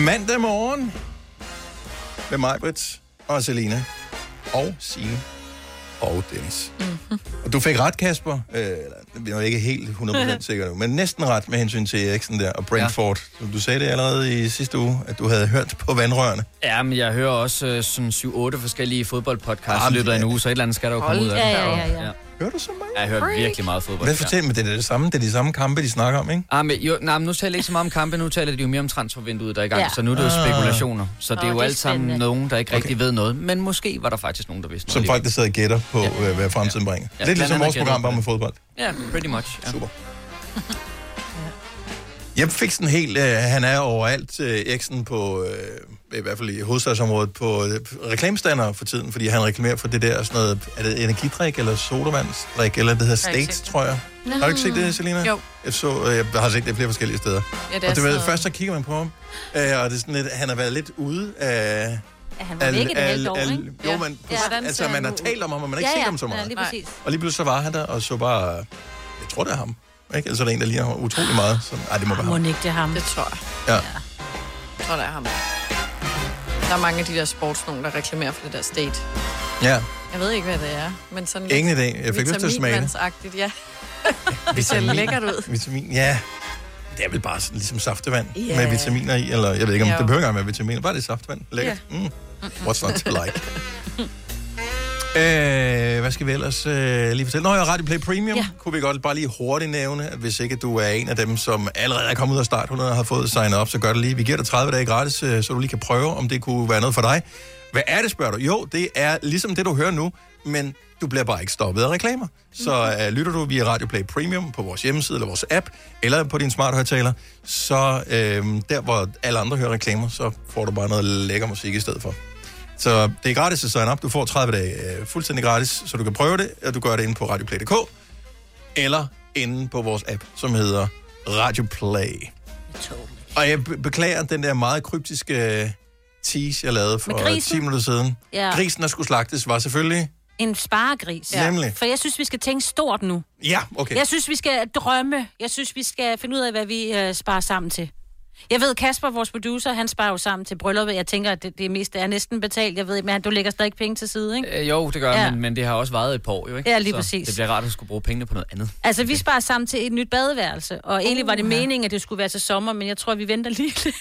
S1: Mandag morgen med mig, Britt og Selina og Signe og Dennis. Mm-hmm.
S23: Mhm.
S1: Og du fik ret, Kasper. Øh, eller, vi er jo ikke helt
S23: (laughs)
S1: 100% sikre nu, men næsten ret med hensyn til Eriksen der og Brentford. Ja. Du sagde det allerede i sidste uge, at du havde hørt på vandrørene.
S23: Ja, men jeg hører også øh, sådan 7-8 forskellige fodboldpodcasts i
S1: Jamen,
S23: løbet af en
S1: ja.
S23: uge, så et eller andet skal der jo komme ud af
S3: Ja,
S23: det.
S3: ja, ja, ja.
S1: Hører du så meget?
S23: Jeg har hørt virkelig meget fodbold.
S1: Hvad fortæl mig, det er det samme, det er de samme kampe, de snakker om, ikke?
S23: Ja. Ah, men, jo, nej, men nu taler jeg ikke så meget om kampe, nu taler de jo mere om transfervinduet, der er i gang,
S3: Ja.
S23: ja. så nu er det jo
S1: Ah.
S23: spekulationer. Så det er
S3: Åh,
S23: jo
S3: det er
S23: alt sammen
S3: spændende.
S23: nogen, der ikke rigtig ved noget, men måske var der faktisk nogen, der vidste
S1: Som
S23: noget.
S1: folk, der sidder og gætter på, ja. hvad fremtiden bringer.
S23: Ja,
S1: Ja, Lidt
S23: blandt
S1: ligesom
S23: andet
S1: vores
S23: gætter
S1: program,
S23: på
S1: bare
S23: det.
S1: med fodbold.
S23: Ja, pretty much. Ja.
S1: (laughs) Super. Jeg fik sådan helt, øh, han er overalt, øh, Eriksen, på, øh, i hvert fald i hovedstadsområdet, på øh, reklamestander for tiden, fordi han reklamerer for det der sådan noget, er det energidrik eller sodavandsdrik, eller det hedder
S5: Jeg har ikke
S1: Stakes,
S5: set det.
S1: tror jeg. Har du ikke set det, Selina?
S5: Jo.
S1: Jeg, så, øh, jeg har set det flere forskellige steder.
S5: Ja, det er
S1: og det ved,
S5: sådan-
S1: først så kigger man på ham, øh, og det er sådan lidt, han har været lidt ude af...
S3: Ja, han var væk et halvt år, ikke?
S1: Jo,
S5: Ja.
S1: men
S5: Ja.
S1: ja.
S5: Hvordan
S1: altså,
S5: ser
S1: man
S5: han
S1: har
S5: ud?
S1: talt om ham, og man har ikke
S3: ja,
S1: set
S3: ja.
S1: ham så meget.
S3: Ja, lige
S5: Nej.
S3: præcis.
S1: Og lige pludselig så var han der, og så bare... Jeg tror, det er ham. Ikke? Ellers er der en, der ligner ham utrolig meget. Så, ej, det må være
S2: Må
S1: ham.
S2: ikke det er ham.
S5: Det tror jeg.
S1: Ja.
S5: Jeg tror, der er ham. Der er mange af de der sportsnogen, der reklamerer for det der state.
S1: ja.
S5: Jeg ved ikke, hvad det er, men sådan
S1: Ingen idé. Jeg fik lyst til at smage det.
S5: vitaminvandsagtigt,
S1: (laughs)
S5: ja. Det ser lækkert ud.
S1: Vitamin, ja. Det er vel bare sådan, ligesom saftevand
S5: Ja.
S1: med vitaminer i, eller jeg ved ikke, om
S5: Jo.
S1: det behøver ikke engang være vitaminer, bare det er saftevand. Lækkert. Mm. What's not to like? Øh, hvad skal vi ellers øh, lige fortælle? Nå, jeg Radio Play Premium ja.
S3: Ja.
S1: kunne vi godt bare lige hurtigt nævne, at hvis ikke du er en af dem, som allerede er kommet ud af starthullet og har fået signet op, så gør det lige. Vi giver dig 30 dage gratis, øh, så du lige kan prøve, om det kunne være noget for dig. Hvad er det, spørger du? Jo, det er ligesom det, du hører nu, men du bliver bare ikke stoppet af reklamer. Så øh, lytter du via Radio Play Premium på vores hjemmeside eller vores app, eller på din smart højtaler, så øh, der, hvor alle andre hører reklamer, så får du bare noget lækker musik i stedet for. Så det er gratis at sign up. Du får 30 dage øh, fuldstændig gratis, så du kan prøve det, og du gør det inde på radioplay.dk, eller inde på vores app, som hedder Radioplay. Og jeg be- beklager den der meget kryptiske øh, tease, jeg lavede for
S3: Med grisen?
S1: 10 minutter siden.
S3: Ja.
S1: Grisen, der skulle slagtes, var selvfølgelig...
S3: En sparegris.
S1: Ja. Nemlig.
S3: For jeg synes, vi skal tænke stort nu.
S1: Ja, okay.
S3: Jeg synes, vi skal drømme. Jeg synes, vi skal finde ud af, hvad vi øh, sparer sammen til. Jeg ved, Kasper, vores producer, han sparer jo sammen til brylluppet. Jeg tænker, at det, det meste er næsten betalt. Jeg ved ikke, men han- du lægger stadig penge til side, ikke?
S23: Øh, jo, det gør
S3: Ja.
S23: ja. men, men det har også vejet et par år, jo ikke?
S3: Ja, lige
S23: så
S3: præcis.
S23: det bliver rart at skulle bruge pengene på noget andet.
S3: Altså, vi sparer sammen til et nyt badeværelse. Og egentlig var det meningen, at det skulle være til sommer, men jeg tror, vi venter lige lidt.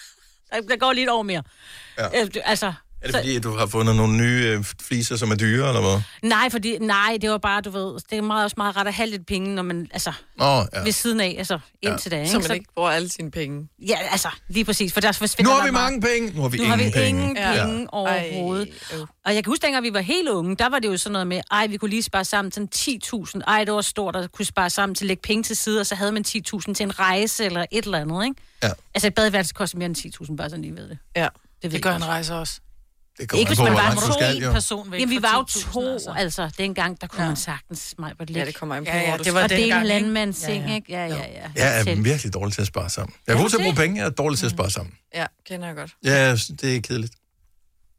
S3: (laughs) Der- Der går lige et år mere.
S1: Ja.
S3: Øh, Altså,
S1: Er det
S3: så-
S1: fordi, at du har fundet nogle nye øh, fliser, som er dyre, eller hvad?
S3: nej, fordi, nej, det var bare, du ved, det er meget, også meget ret at have lidt penge, når man, altså,
S1: Nå, ja.
S3: ja. ved siden af, altså, indtil ja. da, ikke?
S5: Så man ikke bruger alle sine penge.
S3: Ja, altså, lige præcis, for der
S1: Nu
S3: forsvinder
S1: har
S3: der
S1: vi
S3: meget.
S1: mange penge. Nu har vi
S3: Nu har
S1: ingen
S3: vi
S1: penge.
S3: ingen penge ja. overhovedet.
S5: Ej, øv.
S3: Og jeg kan huske, dengang vi var helt unge, der var det jo sådan noget med, ej, vi kunne lige spare sammen til 10.000. Ej, det var stort at kunne spare sammen til at lægge penge til side, og så havde man 10.000 til en rejse eller et eller andet, ikke?
S1: Ja.
S3: Altså, et badeværelse koster mere end 10.000, bare sådan lige ved det.
S5: Ja.
S3: Det, ved
S2: Det gør
S3: jeg
S2: en
S3: også.
S2: rejse også.
S1: Det
S3: Ikke hvis
S1: an på,
S3: man
S1: hvor
S3: var
S1: langt du
S3: to
S1: skal, jo.
S2: person væk
S3: Jamen, vi
S2: for
S3: var jo
S2: 10.000,
S3: to, altså. altså. dengang, der kunne ja. man sagtens mig på
S5: Ja, det kommer an på,
S3: ja, ja,
S5: hvor du
S3: det var
S5: skal.
S3: Og
S5: Og dele
S3: dele
S5: landmandsseng,
S3: landmandsting, ikke? Ja, ja, ja.
S1: Jeg er
S3: Selv.
S1: virkelig dårlig til at spare sammen. Jeg er god til at bruge penge, jeg er dårlig til at
S5: Mm.
S1: spare sammen.
S5: Ja, kender jeg godt.
S1: Ja, det er kedeligt.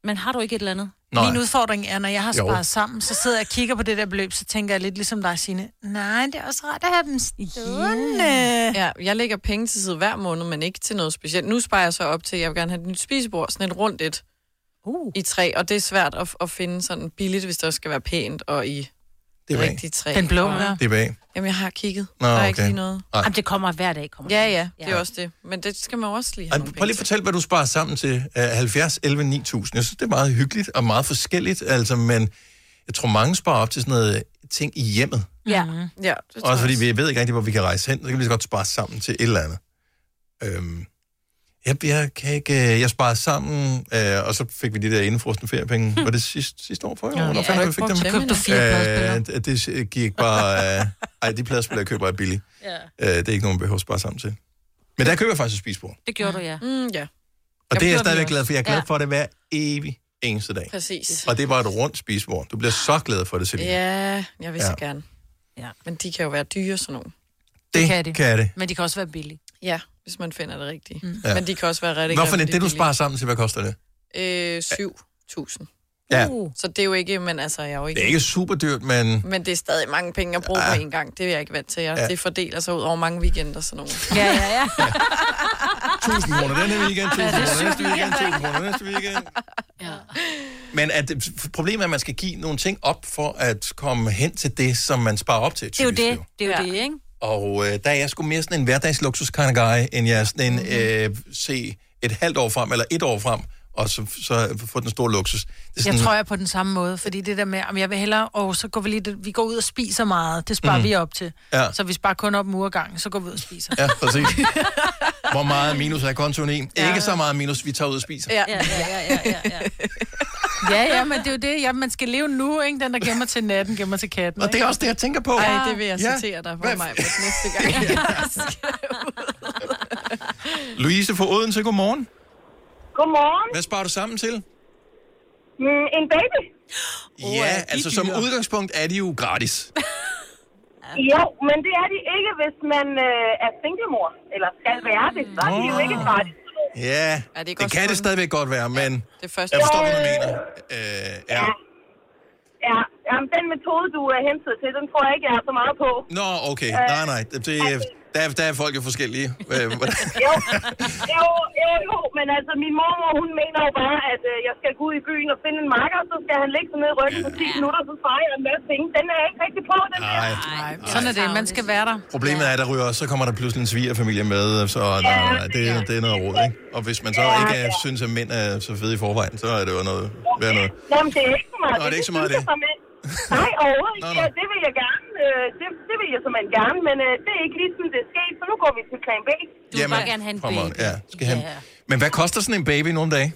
S3: Men har du ikke et eller andet?
S1: Nej.
S2: Min udfordring er, når jeg har
S1: Jo.
S2: sparet sammen, så sidder jeg og kigger på det der beløb, så tænker jeg lidt ligesom dig, Signe. Nej, det er også rart at have dem stående.
S5: Ja, jeg lægger penge til side hver måned, men ikke til noget specielt. Nu sparer jeg så op til, at jeg vil gerne have et nyt spisebord, sådan et rundt et
S2: uh.
S5: i træ, og det er svært at, at finde sådan billigt, hvis det også skal være pænt og i
S1: Det er bag.
S5: rigtig træ.
S2: Den blå,
S5: Og-
S2: ja.
S1: Det er bag.
S5: Jamen, jeg har kigget.
S1: Nå,
S5: der er
S1: okay.
S5: ikke lige noget.
S1: Nej.
S3: Jamen, det kommer hver dag. Kommer
S5: Ja, ja, det er også det. Men det skal man jo også lige have
S1: Ej,
S5: nogle
S1: prøv lige at fortælle, hvad du sparer sammen til øh, 70, 11, 9000. Jeg synes, det er meget hyggeligt og meget forskelligt, altså, men jeg tror, mange sparer op til sådan noget øh, ting i hjemmet.
S3: Ja.
S5: ja det tror
S1: Også fordi
S5: jeg
S1: vi ved ikke rigtig, hvor vi kan rejse hen, så kan vi lige så godt spare sammen til et eller andet. Øhm, jeg, jeg, kan ikke, øh, jeg sparede sammen, øh, og så fik vi de der indefrostende feriepenge.
S5: (laughs)
S1: Var det sidste, sidste år for i år?
S2: Ja,
S1: Hvornår
S2: ja,
S1: fanden
S2: jeg brugte dem. Købte fire
S1: øh, det, det gik bare... Øh, ej, de pladespillere jeg køber er billige.
S3: Ja.
S1: Øh, det er ikke nogen, behøver at spare sammen til. Men der køber jeg faktisk et spisbord.
S3: Det gjorde du, ja.
S5: Mm, ja.
S1: Og
S5: Jeg
S1: det er jeg
S5: gjorde det
S1: stadigvæk
S5: også.
S1: glad for. Jeg er glad
S5: Ja.
S1: ja. for det hver evig eneste dag.
S5: Præcis.
S1: Og det var et rundt spisbord. Du bliver så glad for det, Selina.
S5: Ja, jeg vil
S1: Ja.
S5: så gerne.
S3: Ja.
S5: Men de kan jo være dyre, sådan nogle.
S1: Det, det kan det. Kan det.
S2: Men de kan også være billige.
S5: Ja, hvis man finder det rigtige. Mm.
S1: Ja.
S5: Ja. Men de kan også være rigtig
S1: Hvorfor er det,
S5: rigtig
S1: det, du
S5: billige.
S1: sparer sammen til, hvad koster det?
S5: Øh, 7.000.
S1: Ja.
S3: Uh.
S5: Så det er jo ikke, men altså, jeg er jo ikke...
S1: Det er ikke super dyrt, men...
S5: Men det er stadig mange penge at bruge på én gang. Det er jeg ikke vant til. Jeg,
S1: Ja.
S5: Det fordeler sig ud over mange weekender, sådan nogle.
S3: Ja, ja, ja.
S1: 1000 kroner den her weekend, 1000
S5: Ja, det er
S1: kroner næste
S5: sygt.
S1: weekend, 1000 kroner næste weekend. Men at, problemet er, at man skal give nogle ting op for at komme hen til det, som man sparer op til.
S3: Det er jo
S1: typisk
S3: det. Det er jo det, ikke?
S1: Og øh, der er jeg sgu mere sådan en hverdagsluksus kind of guy, end jeg er sådan en mm-hmm. øh, se et halvt år frem, eller et år frem, og så, så få den store luksus. Det er
S2: Jeg tror, jeg er på den samme måde, fordi det der med, om jeg vil hellere, og så går vi lige, vi går ud og spiser meget, det sparer
S1: Mhm.
S2: mm. vi op til.
S1: Ja.
S2: Så vi sparer kun op en uge ad gangen, så går vi ud og spiser.
S1: Ja, præcis. Hvor meget minus er kontoen i? Ja. Ikke så meget minus, vi tager ud og spiser.
S2: Ja, ja, ja, ja, ja, ja. (laughs) Ja, ja, men det er jo det. Ja, man skal leve nu, ikke? Den, der gemmer til natten, gemmer til katten.
S1: Og det er også det, jeg tænker på.
S5: Ej, det vil jeg citere dig for mig på næste
S1: (laughs)
S5: gang.
S1: Louise fra Odense, godmorgen.
S7: Godmorgen.
S1: Hvad sparer du sammen til?
S7: Mm, en baby?
S1: Ja, altså som udgangspunkt er de jo gratis.
S7: Jo, men det er de ikke, hvis man øh, er singlemor, eller skal være det. Så er de jo ikke gratis.
S1: Ja,
S7: Ja, det er
S1: det,
S7: godt
S1: det kan det stadigvæk godt være, men
S5: det
S7: første-
S1: jeg forstår, hvad du mener. Øh, ja.
S7: Ja, jamen, den metode, du er hentet til, den tror jeg ikke, jeg er så meget på.
S1: Nå, okay.
S7: Øh,
S1: Nej, nej. Det, det, der, er- der er folk jo forskellige. Øh, hvordan-
S7: Jo, jo, jo, jo, men altså, min mormor, hun mener jo bare, at øh, jeg skal gå ud i byen og finde en marker, så skal han ligge sig ned i ryggen på 10 minutter, så sparer jeg en masse penge. Den er jeg ikke rigtig på, den der.
S1: Nej.
S2: Sådan er det. Man skal være der.
S1: Problemet er, der ryger, så kommer der pludselig en svigerfamilie med, så nej, nej, nej, det, er- det er noget råd, ikke? Og hvis man så
S7: Ja,
S1: ikke er,
S7: ja.
S1: synes, at mænd er så fede i forvejen, så er det jo noget, værd noget.
S7: Jamen, det er ikke så meget.
S1: Nå, det er ikke så meget
S7: synes
S1: det.
S7: jeg såmænd. Nej, overhovedet
S1: Nå,
S7: ikke.
S1: nå.
S7: Ja, det vil jeg gerne. Øh, det, det vil jeg såmænd gerne, men øh, det er ikke lige sådan, det er sket, så nu går vi til plan B.
S1: come on, Ja, skal han. Men hvad koster sådan en baby nogle dage?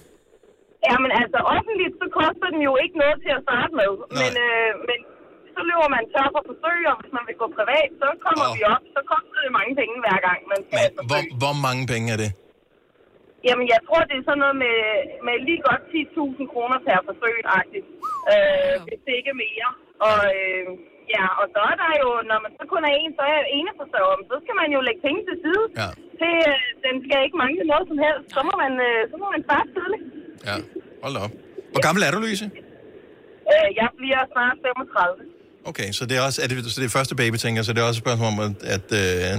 S7: Jamen altså, offentligt, så koster den jo ikke noget til at starte med. Men, øh, men så løber man tør for forsøg, og hvis man vil gå privat, så kommer oh. vi op. Så koster det mange penge hver gang, man skal have et forsøg.
S1: Hvor, hvor mange penge er det?
S7: Jamen, jeg tror, det er sådan noget med, med lige godt 10.000 kroner per forsøg, agtigt. Øh, hvis det ikke er mere. Og, øh, ja, og så er der jo, når man så kun er en, så er jeg ene forsørger, men så skal man jo lægge penge til side.
S1: Ja.
S7: Det, øh, den skal ikke mangle noget som helst. Så må man, øh, så må man starte tidligt.
S1: Ja, hold da op. Hvor gammel er du, Louise?
S7: Øh, jeg bliver snart 35.
S1: Okay, så det er også, er det, så det er første baby, tænker jeg, så det er også et spørgsmål om, at, at, øh,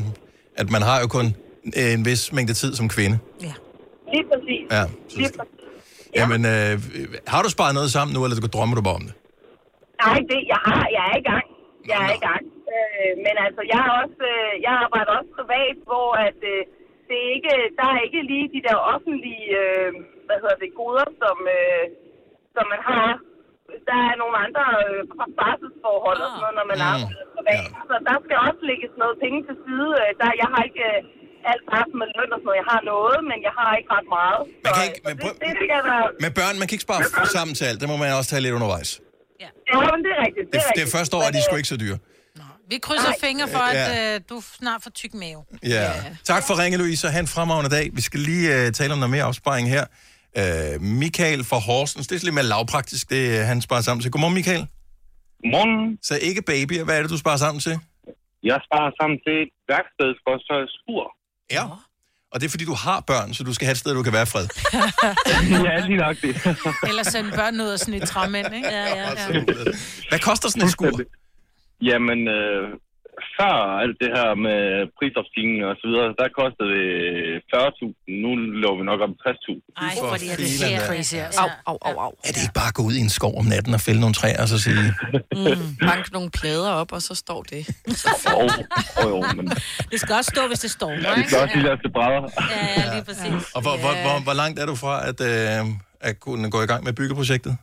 S1: at man har jo kun en vis mængde tid som kvinde.
S7: Lige præcis.
S1: Ja. Så, jamen, øh, har du sparet noget sammen nu, eller du- drømmer du bare om det?
S7: Nej, det, jeg, har, jeg er i gang. Jeg er i gang. Øh, men altså, jeg, er også, øh, jeg arbejder også privat, hvor at, øh, det er ikke, der er ikke lige de der offentlige øh, hvad hedder det, goder, som, øh, som man har. Der er nogle andre øh, barselsforhold og sådan noget, når man
S1: Mm.
S7: arbejder privat. Så der skal også lægges noget penge til side. Øh, Der, jeg har ikke øh, alt sammen med løn og sådan noget. Jeg har noget, men jeg har ikke ret meget. Man kan ikke, men det, det, det, skal der...
S1: Med børn, man kan ikke spare f- sammen til alt. Det må man også tage lidt undervejs.
S7: Ja, men det er rigtigt.
S1: Det,
S7: Det er
S1: det
S7: rigtigt. øh,
S1: første år, er de sgu ikke så dyre.
S2: Vi krydser
S7: Nej.
S2: fingre for,
S1: Ja.
S2: at øh, du snart får tyk mave.
S1: Ja. Tak for ringe, Louise, og have en fremragende dag. Vi skal lige øh, tale om noget mere opsparing her. Øh, Michael fra Horsens, det er lidt mere lavpraktisk, det øh, han sparer sammen til. Godmorgen, Michael.
S24: Godmorgen.
S1: Så ikke baby, hvad er det, du sparer sammen til?
S24: Jeg sparer sammen til et værksted for så skur.
S1: Ja. Og det er, fordi du har børn, så du skal have et sted, du kan være i fred.
S24: ja, lige nok det.
S2: Eller sende børn ud og sådan et træmænd, ikke? Ja, ja,
S1: Altså,
S2: ja.
S1: Hvad koster sådan en skur?
S24: Jamen, øh, før alt det her med prisopstigningen og så videre, der kostede det 40.000. Nu lå vi nok om 60.000.
S2: Ej, hvor det er det
S1: filan da.
S2: her crazy. Au, au, au, au.
S1: Er det ikke bare at gå ud i en skov om natten og fælde nogle træer og så sige...
S5: Mm, bank nogle plader op, og så står det.
S24: Åh, oh, jo, men
S3: Det skal også stå, hvis det står.
S24: vi skal også lige lade det brædder.
S3: Ja, ja, lige præcis.
S1: Og hvor, hvor, hvor, hvor langt er du fra at, øh, at kunne gå i gang med byggeprojektet?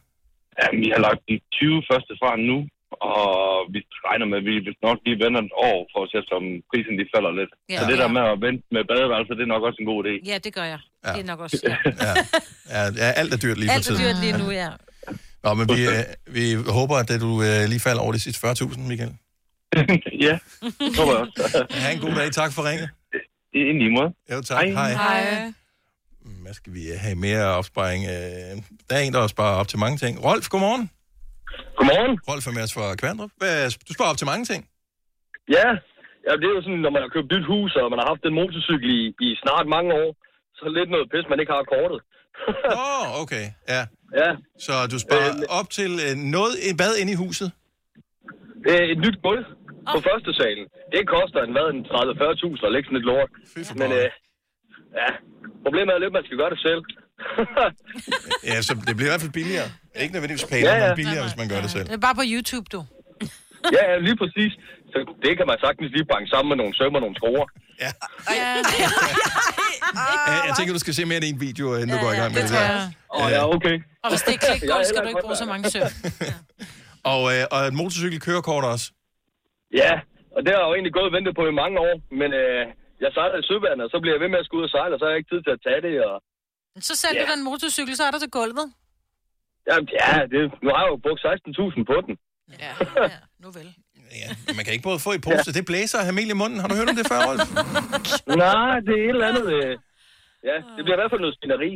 S24: Jamen, vi har lagt de 20 første fra nu, og vi regner med, at vi hvis nok lige venter et år, for at se, som prisen de falder lidt.
S3: Ja.
S24: Ja, så det
S3: Ja.
S24: der med at vente med badeværelset, det er nok også en god idé. (laughs)
S3: Ja, det gør jeg. Ja. Det er nok også. Ja.
S1: Ja, ja alt er dyrt lige for
S3: Alt er
S1: tiden.
S3: dyrt lige nu, ja.
S1: Nå, men vi, øh, vi håber, at du øh, lige falder over de sidste 40.000, Michael.
S24: ja, det håber jeg også.
S1: Ha' en god dag. Tak for ringet.
S24: I, i lige måde.
S1: Jo, tak. Hej.
S5: Hej.
S1: Hvad skal vi øh, have mere opsparing? Øh, der er en, der sparer op til mange ting. Rolf, godmorgen.
S24: Godmorgen.
S1: Rolf er med os fra Kvandrup. Hvad, du sparer op til mange ting.
S25: Ja, ja det er jo sådan, når man har købt nyt hus, og man har haft en motorcykel i, i snart mange år, så er det lidt noget pis, man ikke har kortet. (laughs)
S1: Åh, oh, okay. Ja.
S25: ja.
S1: Så du sparer
S25: Øhm,
S1: øh, op til øh, noget, et bad inde i huset?
S25: Øh, et nyt gulv på første salen. Det koster en, hvad, en 30-40.000 at lægge sådan et lort. Men øh, ja, problemet er lidt, at man skal gøre det selv. (laughs)
S1: Ja, så det bliver i hvert fald billigere. Ikke nødvendigvis
S25: Ja,
S1: pænere,
S25: ja.
S1: men billigere, hvis man gør det selv.
S2: Det er bare på YouTube, du.
S25: ja, ja, lige præcis. Så det kan man sagtens lige banke sammen med nogle sømmer og nogle skruer.
S2: Ja.
S1: Jeg, jeg tænker, du skal se mere end en video, inden du går i gang med det,
S2: det tror
S1: der.
S2: jeg.
S25: Åh, ja, okay.
S2: Og hvis det er
S24: (laughs)
S2: klikgulv, skal du ikke bruge så mange søvn.
S1: Og, øh, og et motorcykel kørekort også.
S25: Ja, og det har jeg jo egentlig gået og ventet på i mange år, men øh, jeg sejler i søvandet, og så bliver jeg ved med at skulle ud og sejle, og så har jeg ikke tid til at tage det, og
S2: Så sælger du den motorcykel, så er der til gulvet.
S25: Jamen, ja, det, nu har jeg jo brugt 16.000 på den.
S1: Men Man kan ikke både få i pose. Det blæser og have mel i munden. Har du hørt om det før, Rolf?
S25: Nej, det er et eller andet... Øh, ja, det bliver i hvert fald noget spineri.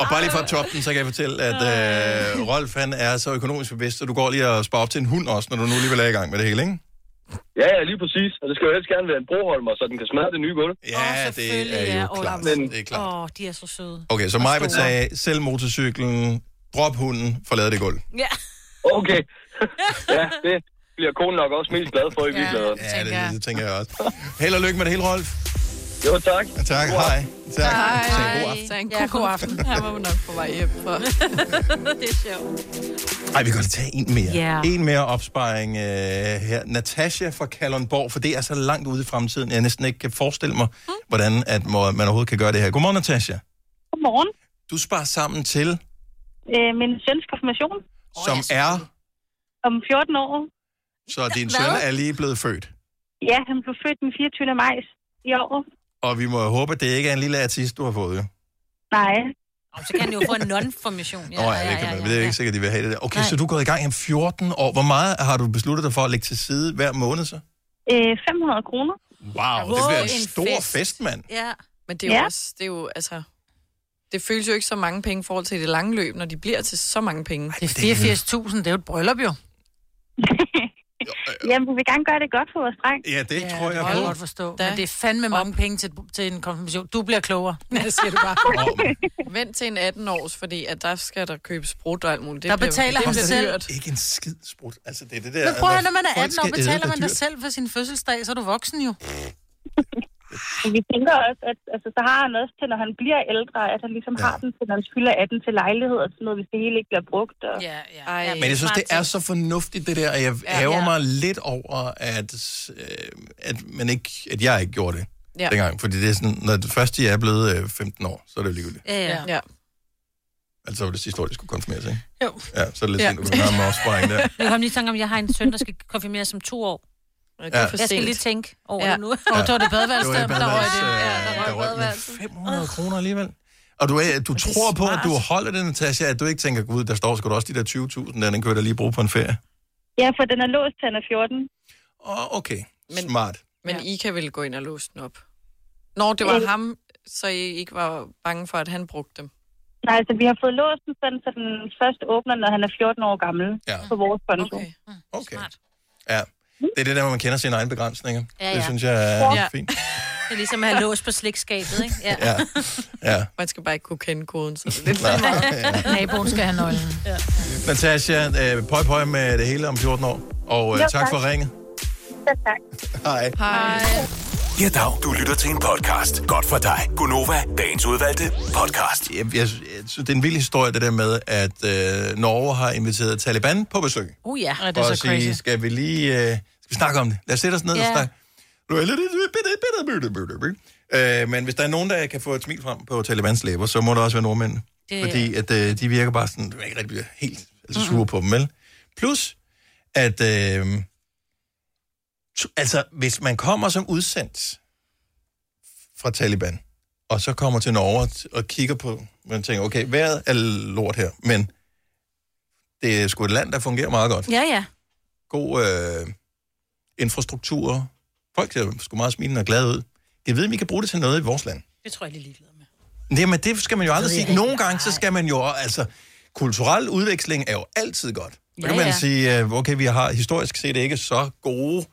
S1: Og bare lige fra toppen, så kan jeg fortælle, at øh, Rolf han er så økonomisk bevidst, så du går lige og sparer op til en hund også, når du nu alligevel er i gang med det hele, ikke?
S25: Ja, ja, lige præcis. Og det skal jo helst gerne være en broholmer, så den kan smadre det nye gulv.
S1: Ja, oh, det er jo klart. Det er klart.
S3: Åh, oh, de er så søde.
S1: Okay, så
S3: Og
S1: mig vil
S3: store.
S1: sige, sælg motorcyklen, drop hunden, forlad det gulv.
S3: Ja.
S26: (laughs)
S25: Okay. ja, det bliver konen nok også mest glad for i virkeligheden.
S1: Ja, det, det tænker jeg også. Held og lykke med det hele, Rolf.
S25: Jo, tak.
S1: Tak, hej. Tak. Så en god aften.
S5: Så en god, ja, god aften. Her var vi nok på vej hjem for. det er sjovt.
S1: Ej, vi kan godt tage en mere.
S5: Ja.
S1: En mere opsparing øh, her. Natasha fra Kalundborg, for det er så langt ude i fremtiden, jeg næsten ikke kan forestille mig, mm. hvordan at må, man overhovedet kan gøre det her. Godmorgen, Natasha.
S26: Godmorgen.
S1: Du sparer sammen til,
S26: Øh, min søns konfirmation
S1: som er,
S26: om 14 år.
S1: så din
S26: Hvad?
S1: søn er lige blevet født.
S26: Ja, han blev født den 24. maj i år.
S1: Og vi må håbe, at det ikke er en lille artist, du har fået. jo.
S26: Nej.
S3: Og så kan han jo få en non-formation.
S1: Nå ja, det kan man. Det er jo ikke sikkert, de vil have det der. Okay, så du er gået i gang om 14 år. Hvor meget har du besluttet dig for at lægge til side hver måned så?
S26: Øh, 500 kroner.
S1: Wow, det bliver en stor fest, mand.
S5: Ja. (laughs) Men det er jo
S26: Ja.
S5: ja. også, det er jo, altså... Det føles jo ikke så mange penge i forhold til det lange løb, når de bliver til så mange penge.
S2: Det er 84.000, det er jo et bryllup jo.
S26: (laughs)
S1: øh,
S26: Jamen, vi vil gerne gøre det godt for vores dreng.
S1: Ja, det
S2: tror jeg, jeg godt forstå. Men det er fandme mange penge til, til en konfirmation. Du bliver klogere, det siger du bare.
S5: Vent til en 18-års, fordi at der skal der købes brudt og alt muligt. Det
S2: Der
S5: bliver-
S2: betaler
S5: det
S2: han
S5: bliver
S2: selv.
S5: dyrt.
S1: Ikke en skid sprut. Altså, det er det der...
S2: Men prøv at høre, når man er
S1: folk
S2: 18 år,
S1: skal æde,
S2: betaler
S1: der
S2: man
S1: er
S2: dig
S1: dyrt.
S2: selv for sin fødselsdag, så er du voksen jo.
S26: Men Vi tænker også, at altså, så har han også til, når han bliver ældre, at han ligesom ja. har den til, når han fylder 18 til lejlighed og sådan noget, hvis det hele ikke bliver brugt. Og...
S2: Ja, ja.
S26: Ej,
S1: Men jeg synes, det er så fornuftigt, det der, og jeg
S26: Ja.
S1: hæver
S26: Ja.
S1: mig lidt over, at, øh, at, man ikke, at jeg ikke gjorde det
S5: Ja.
S1: ja. dengang. Fordi det er sådan, når det første jeg er blevet øh, 15 år, så er det jo ligegyldigt.
S5: Ja. ja.
S1: Altså, så var det sidste år, de skulle konfirmeres, ikke?
S2: Jo.
S1: Ja, så er det lidt
S3: Ja.
S1: ja. sent, at du har med
S2: (laughs)
S1: opsparing der.
S3: Jeg kom lige i tanke om, at jeg har en søn, der skal konfirmeres som to år.
S1: det er for
S3: Jeg skal
S1: sent.
S3: lige tænke over ja. det nu.
S1: Ja.
S2: det var det badeværelse,
S1: (laughs) Det var i
S2: der røg det.
S1: badeværelse,
S2: Ja,
S1: øh,
S2: der
S1: der
S2: røg
S1: røg den.
S2: badeværelset.
S1: 500 kroner alligevel. Og du, er, du tror på, at du holder det, Natasha, at du ikke tænker, gud, der står sgu da også de der 20.000, der den kan jeg da lige bruge på en ferie.
S26: Ja, for den er låst til han er 14.
S1: Åh, okay. Smart.
S5: Men ja. I kan vel gå ind og låse den op? Nå, det var
S26: Øh.
S5: ham, så I ikke var bange for, at han brugte dem?
S26: Nej, altså vi har fået låst den sådan, så den først åbner, når han er 14 år gammel ja. på vores konto. Okay.
S1: Okay. Ja. Det er det der, hvor man kender sine egne begrænsninger.
S3: Ja,
S1: Det
S3: ja.
S1: synes jeg er
S3: Ja.
S1: fint.
S3: Det er ligesom at have lås på slikskabet, ikke? Ja.
S1: Ja. Ja.
S5: Man skal bare ikke kunne kende koden, så
S1: (laughs)
S5: det er lidt
S1: Nej.
S5: lige meget.
S2: Naboen skal have nøglen.
S1: Natasha, øh, pøj pøj med det hele om 14 år. Og øh,
S20: Jo,
S1: tak
S20: tak.
S1: for ringet.
S26: tak.
S1: Hej.
S5: Hej.
S20: Ja, dag. Du lytter til en podcast. Godt for dig. Gunova, dagens udvalgte podcast.
S1: Jeg, jeg, jeg synes, det er en vild historie, det der med, at øh, Norge har inviteret Taliban på besøg.
S3: Uh, ja.
S2: ja det
S1: for
S2: er
S1: at
S2: så crazy.
S1: sige, skal vi lige øh, skal vi snakke om det? Lad os sætte os ned
S2: Ja.
S1: og snakke. Øh, men hvis der er nogen, der kan få et smil frem på Talibans læber, så må der også være nordmænd.
S11: Det-
S1: Det... Fordi at, øh, de virker bare sådan, man ikke rigtig bliver helt altså, sure på dem, vel? Plus, at øh, t- altså, hvis man kommer som udsendt fra Taliban, og så kommer til Norge og- og kigger på, man tænker, okay, vejret er lort her, men det er sgu et land, der fungerer meget godt
S3: Ja, ja.
S1: god øh, infrastruktur. Folk ser sgu meget smilende og glade ud. Jeg ved, om I kan bruge det til noget i vores land.
S2: Det tror jeg lige ligeglad.
S1: Nej, men det skal man jo aldrig
S2: ved jeg
S1: sige.
S2: ikke.
S1: Nogle gange, så skal man jo, altså, kulturel udveksling er jo altid godt. Så
S2: Ja,
S1: kan man
S2: ja.
S1: sige, øh, okay, vi har historisk set ikke så gode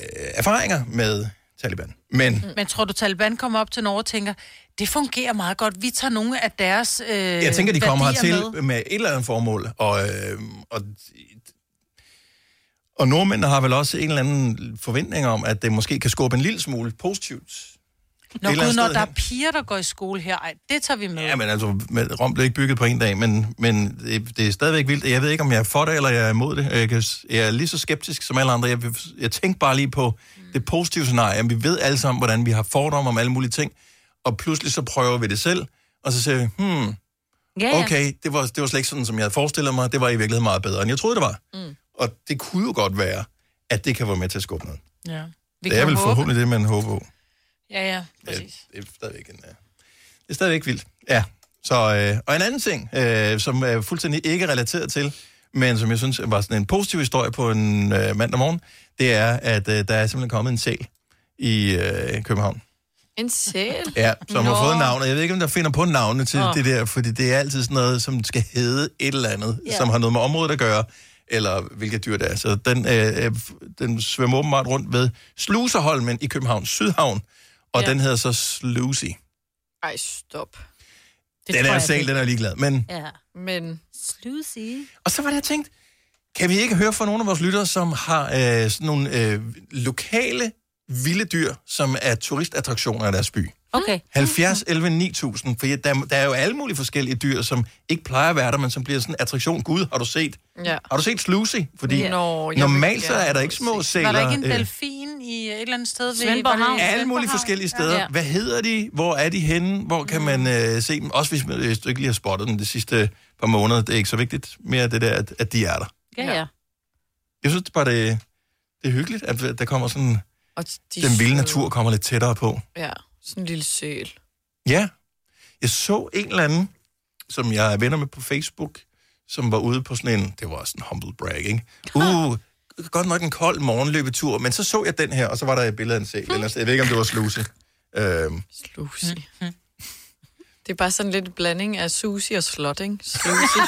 S1: øh, erfaringer med Taliban. Men
S2: Men tror du, Taliban kommer op til Norge og tænker, det fungerer meget godt, vi tager nogle af deres øh,
S1: Jeg tænker, de kommer
S2: værdier
S1: hertil
S2: med.
S1: med. med et eller andet formål, og, øh, og, og nordmændene har vel også en eller anden forventning om, at det måske kan skubbe en lille smule positivt.
S2: Nå,
S1: et eller
S2: gud,
S1: andet
S2: når
S1: sted
S2: der er
S1: hen.
S2: piger, der går i skole her, ej, det tager vi med.
S1: Ja, men altså, men Rom blev ikke bygget på en dag, men, men det, det er stadigvæk vildt. Jeg ved ikke, om jeg er for det, eller jeg er imod det. Jeg, kan, jeg er lige så skeptisk som alle andre. Jeg, jeg tænker bare lige på det positive scenarie. Jamen, vi ved alle sammen, hvordan vi har fordomme om alle mulige ting, og pludselig så prøver vi det selv, og så siger vi, hmm,
S3: Ja, ja.
S1: okay, det var, det var slet ikke sådan, som jeg havde forestillet mig. Det var i virkeligheden meget bedre, end jeg troede, det var. Mm. Og det kunne jo godt være, at det kan være med til at skubbe noget.
S2: Ja.
S1: Vi det er
S2: kan
S1: vel
S2: håbe.
S1: forhåbentlig det, man håber på.
S2: Ja, ja.
S1: Det er stadigvæk en... øh, Det er stadigvæk vildt. Ja. Så, øh, og en anden ting, øh, som er fuldstændig ikke relateret til, men som jeg synes var sådan en positiv historie på en øh, mandag morgen, det er, at øh, der er simpelthen kommet en sæl i øh, København.
S5: En sæl?
S1: Ja, som
S5: Nå.
S1: har fået navnet. Jeg ved ikke, om der finder på navnene til
S5: Nå.
S1: det der, fordi det er altid sådan noget, som skal hedde et eller andet,
S5: Ja.
S1: som har noget med området at gøre, eller hvilket dyr det er. Så den, øh, øh, den svømmer åbenbart rundt ved Sluserholmen i København, Sydhavn, og
S5: Ja.
S1: den hedder så Slusy.
S5: Ej, stop.
S1: Det den er selv, den er ligeglad. Men,
S3: Ja.
S5: Men...
S3: Slucy.
S1: og så var det, jeg tænkte, kan vi ikke høre fra nogle af vores lyttere, som har øh, sådan nogle øh, lokale vilde dyr, som er turistattraktioner i deres by?
S3: Okay.
S1: 70, 11, 9000, for der, der er jo alle mulige forskellige dyr, som ikke plejer at være der, men som bliver sådan en attraktion. Gud, har du set?
S5: Ja.
S1: Har du set Slusy? Fordi
S2: Ja. Nå, jeg
S1: normalt
S2: vil
S1: så er der ikke små sæler.
S2: Var der ikke en
S1: øh,
S2: delfin i et eller andet sted? Ved,
S3: Svendborg
S2: var det-
S3: Havn.
S1: alle mulige forskellige steder. Ja. Hvad hedder de? Hvor er de henne? Hvor
S2: Mm.
S1: kan man øh, se dem? Også hvis man øh, hvis du ikke lige har spottet dem de sidste par måneder. Det er ikke så vigtigt mere det der, at, at de er der.
S3: Ja, ja.
S1: Jeg synes bare, det, det er hyggeligt, at at der kommer sådan...
S5: Og de
S1: den vilde
S5: søde.
S1: natur kommer lidt tættere på.
S5: Ja, sådan en lille sæl.
S1: Ja. Jeg så en eller anden, som jeg er venner med på Facebook, som var ude på sådan en... Det var sådan en humble brag, ikke? Uh, godt nok en kold morgenløbetur, men så så jeg den her, og så var der et billede af en sæl. Ellers, jeg ved ikke, om det var sluse. Øhm,
S5: Lucy.
S1: Mm,
S5: Det er bare sådan lidt en blanding af sushi og slot, ikke?
S1: (laughs)
S5: Sushi.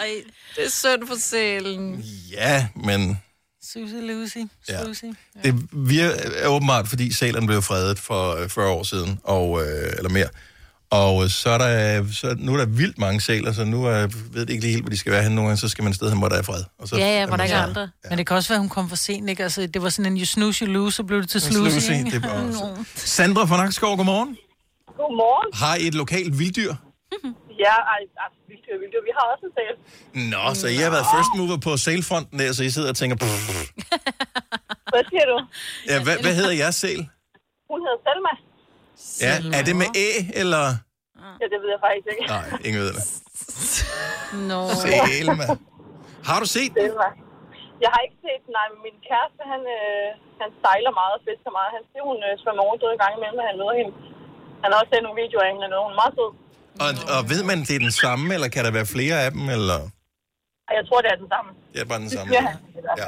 S3: Ej,
S5: det er synd for sælen.
S1: ja, men...
S2: Susie Lucy.
S1: Ja.
S2: Susie.
S1: Det vir- er åbenbart, fordi salen blev fredet for øh, 40 år siden, og, øh, eller mere. Og øh, så er der, øh, så, nu er der vildt mange saler, så nu er, ved det ikke lige helt, hvor de skal være henne. Nogle gange, så skal man et sted hen, hvor der er fred. Og så,
S2: Ja, ja,
S1: er
S2: hvor
S1: man
S2: der ikke er
S1: sådan-
S2: andre. Ja. Men det kan også være, hun kom for sent, ikke? Altså, det var sådan en you snooze, you lose, så blev det til
S1: Men
S2: slusi,
S1: Slusi,
S2: ikke?
S1: det var også- Sandra fra Nakskov, godmorgen.
S26: Godmorgen.
S1: Har I et lokalt vilddyr?
S26: Ja, ej, ej, vildt dyr, vildt dyr. Vi har også en sal.
S1: Nå, så I har været first mover på sælfronten der, så I sidder og tænker... "Pff."
S26: Hvad siger du?
S1: Ja, hvad, hvad hedder jeres sæl?
S26: Hun hedder Selma.
S1: Ja, er det med æ, eller...
S26: Ja, det ved jeg faktisk ikke.
S1: Nej, ingen ved det.
S3: Nå.
S1: Selma. Har du set den?
S26: Selma. Jeg har ikke set den, nej, men min kæreste, han, øh, han sejler meget og fisker meget. Han siger, hun øh, svømmer overdød en gang imellem, når han møder hende. Han har også sendt nogle videoer af hende, og noget. hun er meget sød.
S1: Og, og ved man, det er den samme, eller kan der være flere af dem, eller...
S26: Og jeg tror, det er den samme.
S1: Det er bare den samme.
S26: Ja.
S1: Ja.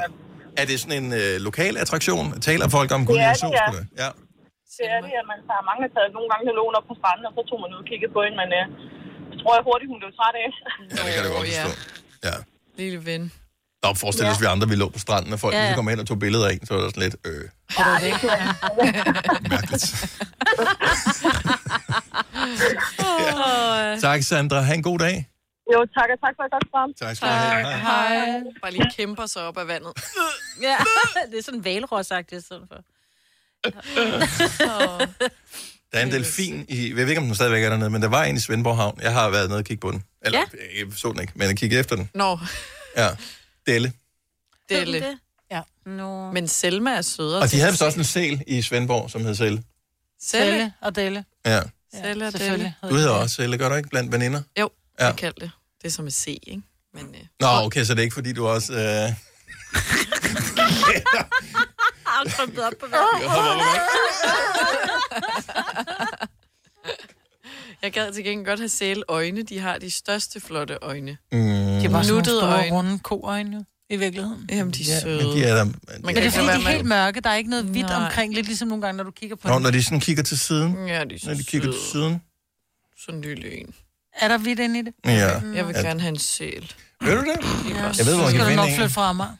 S1: Er det sådan en øh, lokal attraktion? Taler folk om Gulliver Zoo?
S26: ja.
S1: skulle det? ja.
S26: Det er det, at man har mange har taget nogle gange, der lå under på stranden, og så tog man ud og kiggede på hende, men øh, jeg tror jeg hurtigt, hun blev træt af.
S1: Ja, det kan du godt forstå. Ja.
S5: Lille ven.
S1: Nå, forestil os, vi andre, vi lå på stranden, og folk
S26: Ja.
S1: ja. kom hen og tog billeder af en, så var det sådan lidt, øh,
S26: Ja, det kan jeg.
S1: (laughs) ja. Tak, Sandra. Ha' en god dag.
S26: Jo, tak, og tak for et godt program.
S1: Tak skal du have. Hej.
S5: Hej. Bare lige kæmper sig op af vandet.
S2: (laughs)
S3: Ja, det er sådan valrosagtigt i stedet for.
S1: Der er en delfin i, jeg ved ikke, om den stadigvæk er dernede, men der var en i Svendborg Havn. Jeg har været nede og kigge på den. Eller,
S3: Ja.
S1: ja. jeg så den ikke, men jeg kiggede efter den.
S5: Nå,
S1: Ja. Delle.
S5: det er
S3: Ved den
S5: lidt.
S3: det?
S2: Ja.
S3: No.
S5: Men Selma er sødere.
S1: Og de havde vist også en sel i Svendborg, som hed Selle.
S5: Selle.
S2: og Delle.
S1: Ja.
S5: Selle og Delle.
S2: selvfølgelig.
S1: Du hedder også Selle, gør du ikke, blandt veninder?
S5: Jo,
S1: Ja.
S5: ja. jeg kaldte det. Det er som et C, ikke? Men, øh,
S1: Nå, okay, så det er ikke, fordi du også... Øh...
S3: Ah, krømpet op på vandet.
S5: jeg gad til gengæld godt have sæløjne. De har de største flotte øjne.
S1: Mm.
S2: Det er bare sådan nogle
S5: Nuttede
S2: store,
S5: øjne.
S2: runde koøjne, jo, i virkeligheden.
S5: Jamen, de er
S1: Ja,
S5: søde.
S1: men de er der...
S5: Man
S2: Men
S5: kan
S2: det er
S5: ikke
S2: fordi,
S5: lade være
S2: de er
S5: med
S2: helt mørke. Der er ikke noget hvidt
S5: Nej.
S2: omkring. Lidt ligesom nogle gange, når du kigger på
S1: Nå,
S2: den.
S1: når de sådan kigger til siden.
S5: Ja, de er
S1: Når de kigger til
S5: søde.
S1: siden.
S5: Sådan en lille en.
S2: Er der hvidt inde i det?
S1: Ja.
S5: Jeg vil
S1: Ja.
S5: gerne have en sæl.
S1: Ved du det?
S2: Ja.
S1: Jeg ved, hvor
S2: Så
S1: man
S2: skal
S1: kan
S2: du
S1: vinde
S2: nok
S1: en.
S2: flytte fra Amager.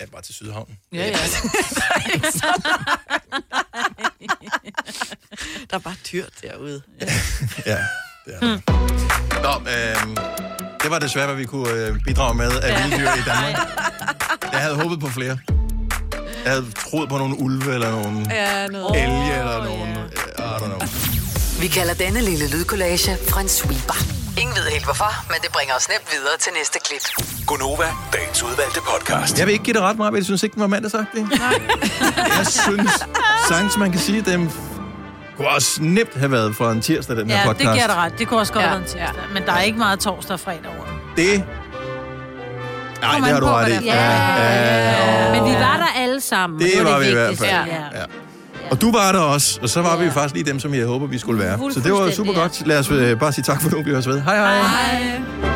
S1: Ja, bare til Sydhavn.
S5: Ja, (laughs) ja. (laughs) der er bare dyrt derude.
S1: Ja, det er
S2: Hmm.
S1: det. Nå, øh, det var desværre, hvad vi kunne øh, bidrage med af vilde dyr i Danmark. Jeg havde håbet på flere. Jeg havde troet på nogle ulve eller nogle
S5: Ja, noget.
S1: elge eller nogle... øh, I don't know.
S6: Vi kalder denne lille lydkollage en sweeper. Ingen ved helt hvorfor, men det bringer os nemt videre til næste klip.
S20: Gonova, dagens udvalgte podcast.
S1: Jeg vil ikke give det ret meget, men jeg synes ikke, den var mandagsagtig. jeg synes, sangs, man kan sige, dem kunne også nemt have været fra en tirsdag, den her
S2: Ja, det
S1: podcast.
S2: giver dig ret. Det kunne også godt
S5: Ja,
S2: have været en tirsdag. Men der er ikke meget torsdag og fredag over. det.
S1: Det... Nej, det har du ret i.
S3: Ja, ja, Men vi var der alle sammen. og
S1: Det
S3: var
S1: var vi i hvert
S3: vigtigste.
S1: fald.
S3: Ja.
S1: Og du var der også, og så var vi jo faktisk lige dem, som jeg håber, vi skulle være. Så det var
S3: Fuldstændig,
S1: super godt. Lad os øh, bare sige tak for nu, vi høres ved. Hej hej.
S3: Hej.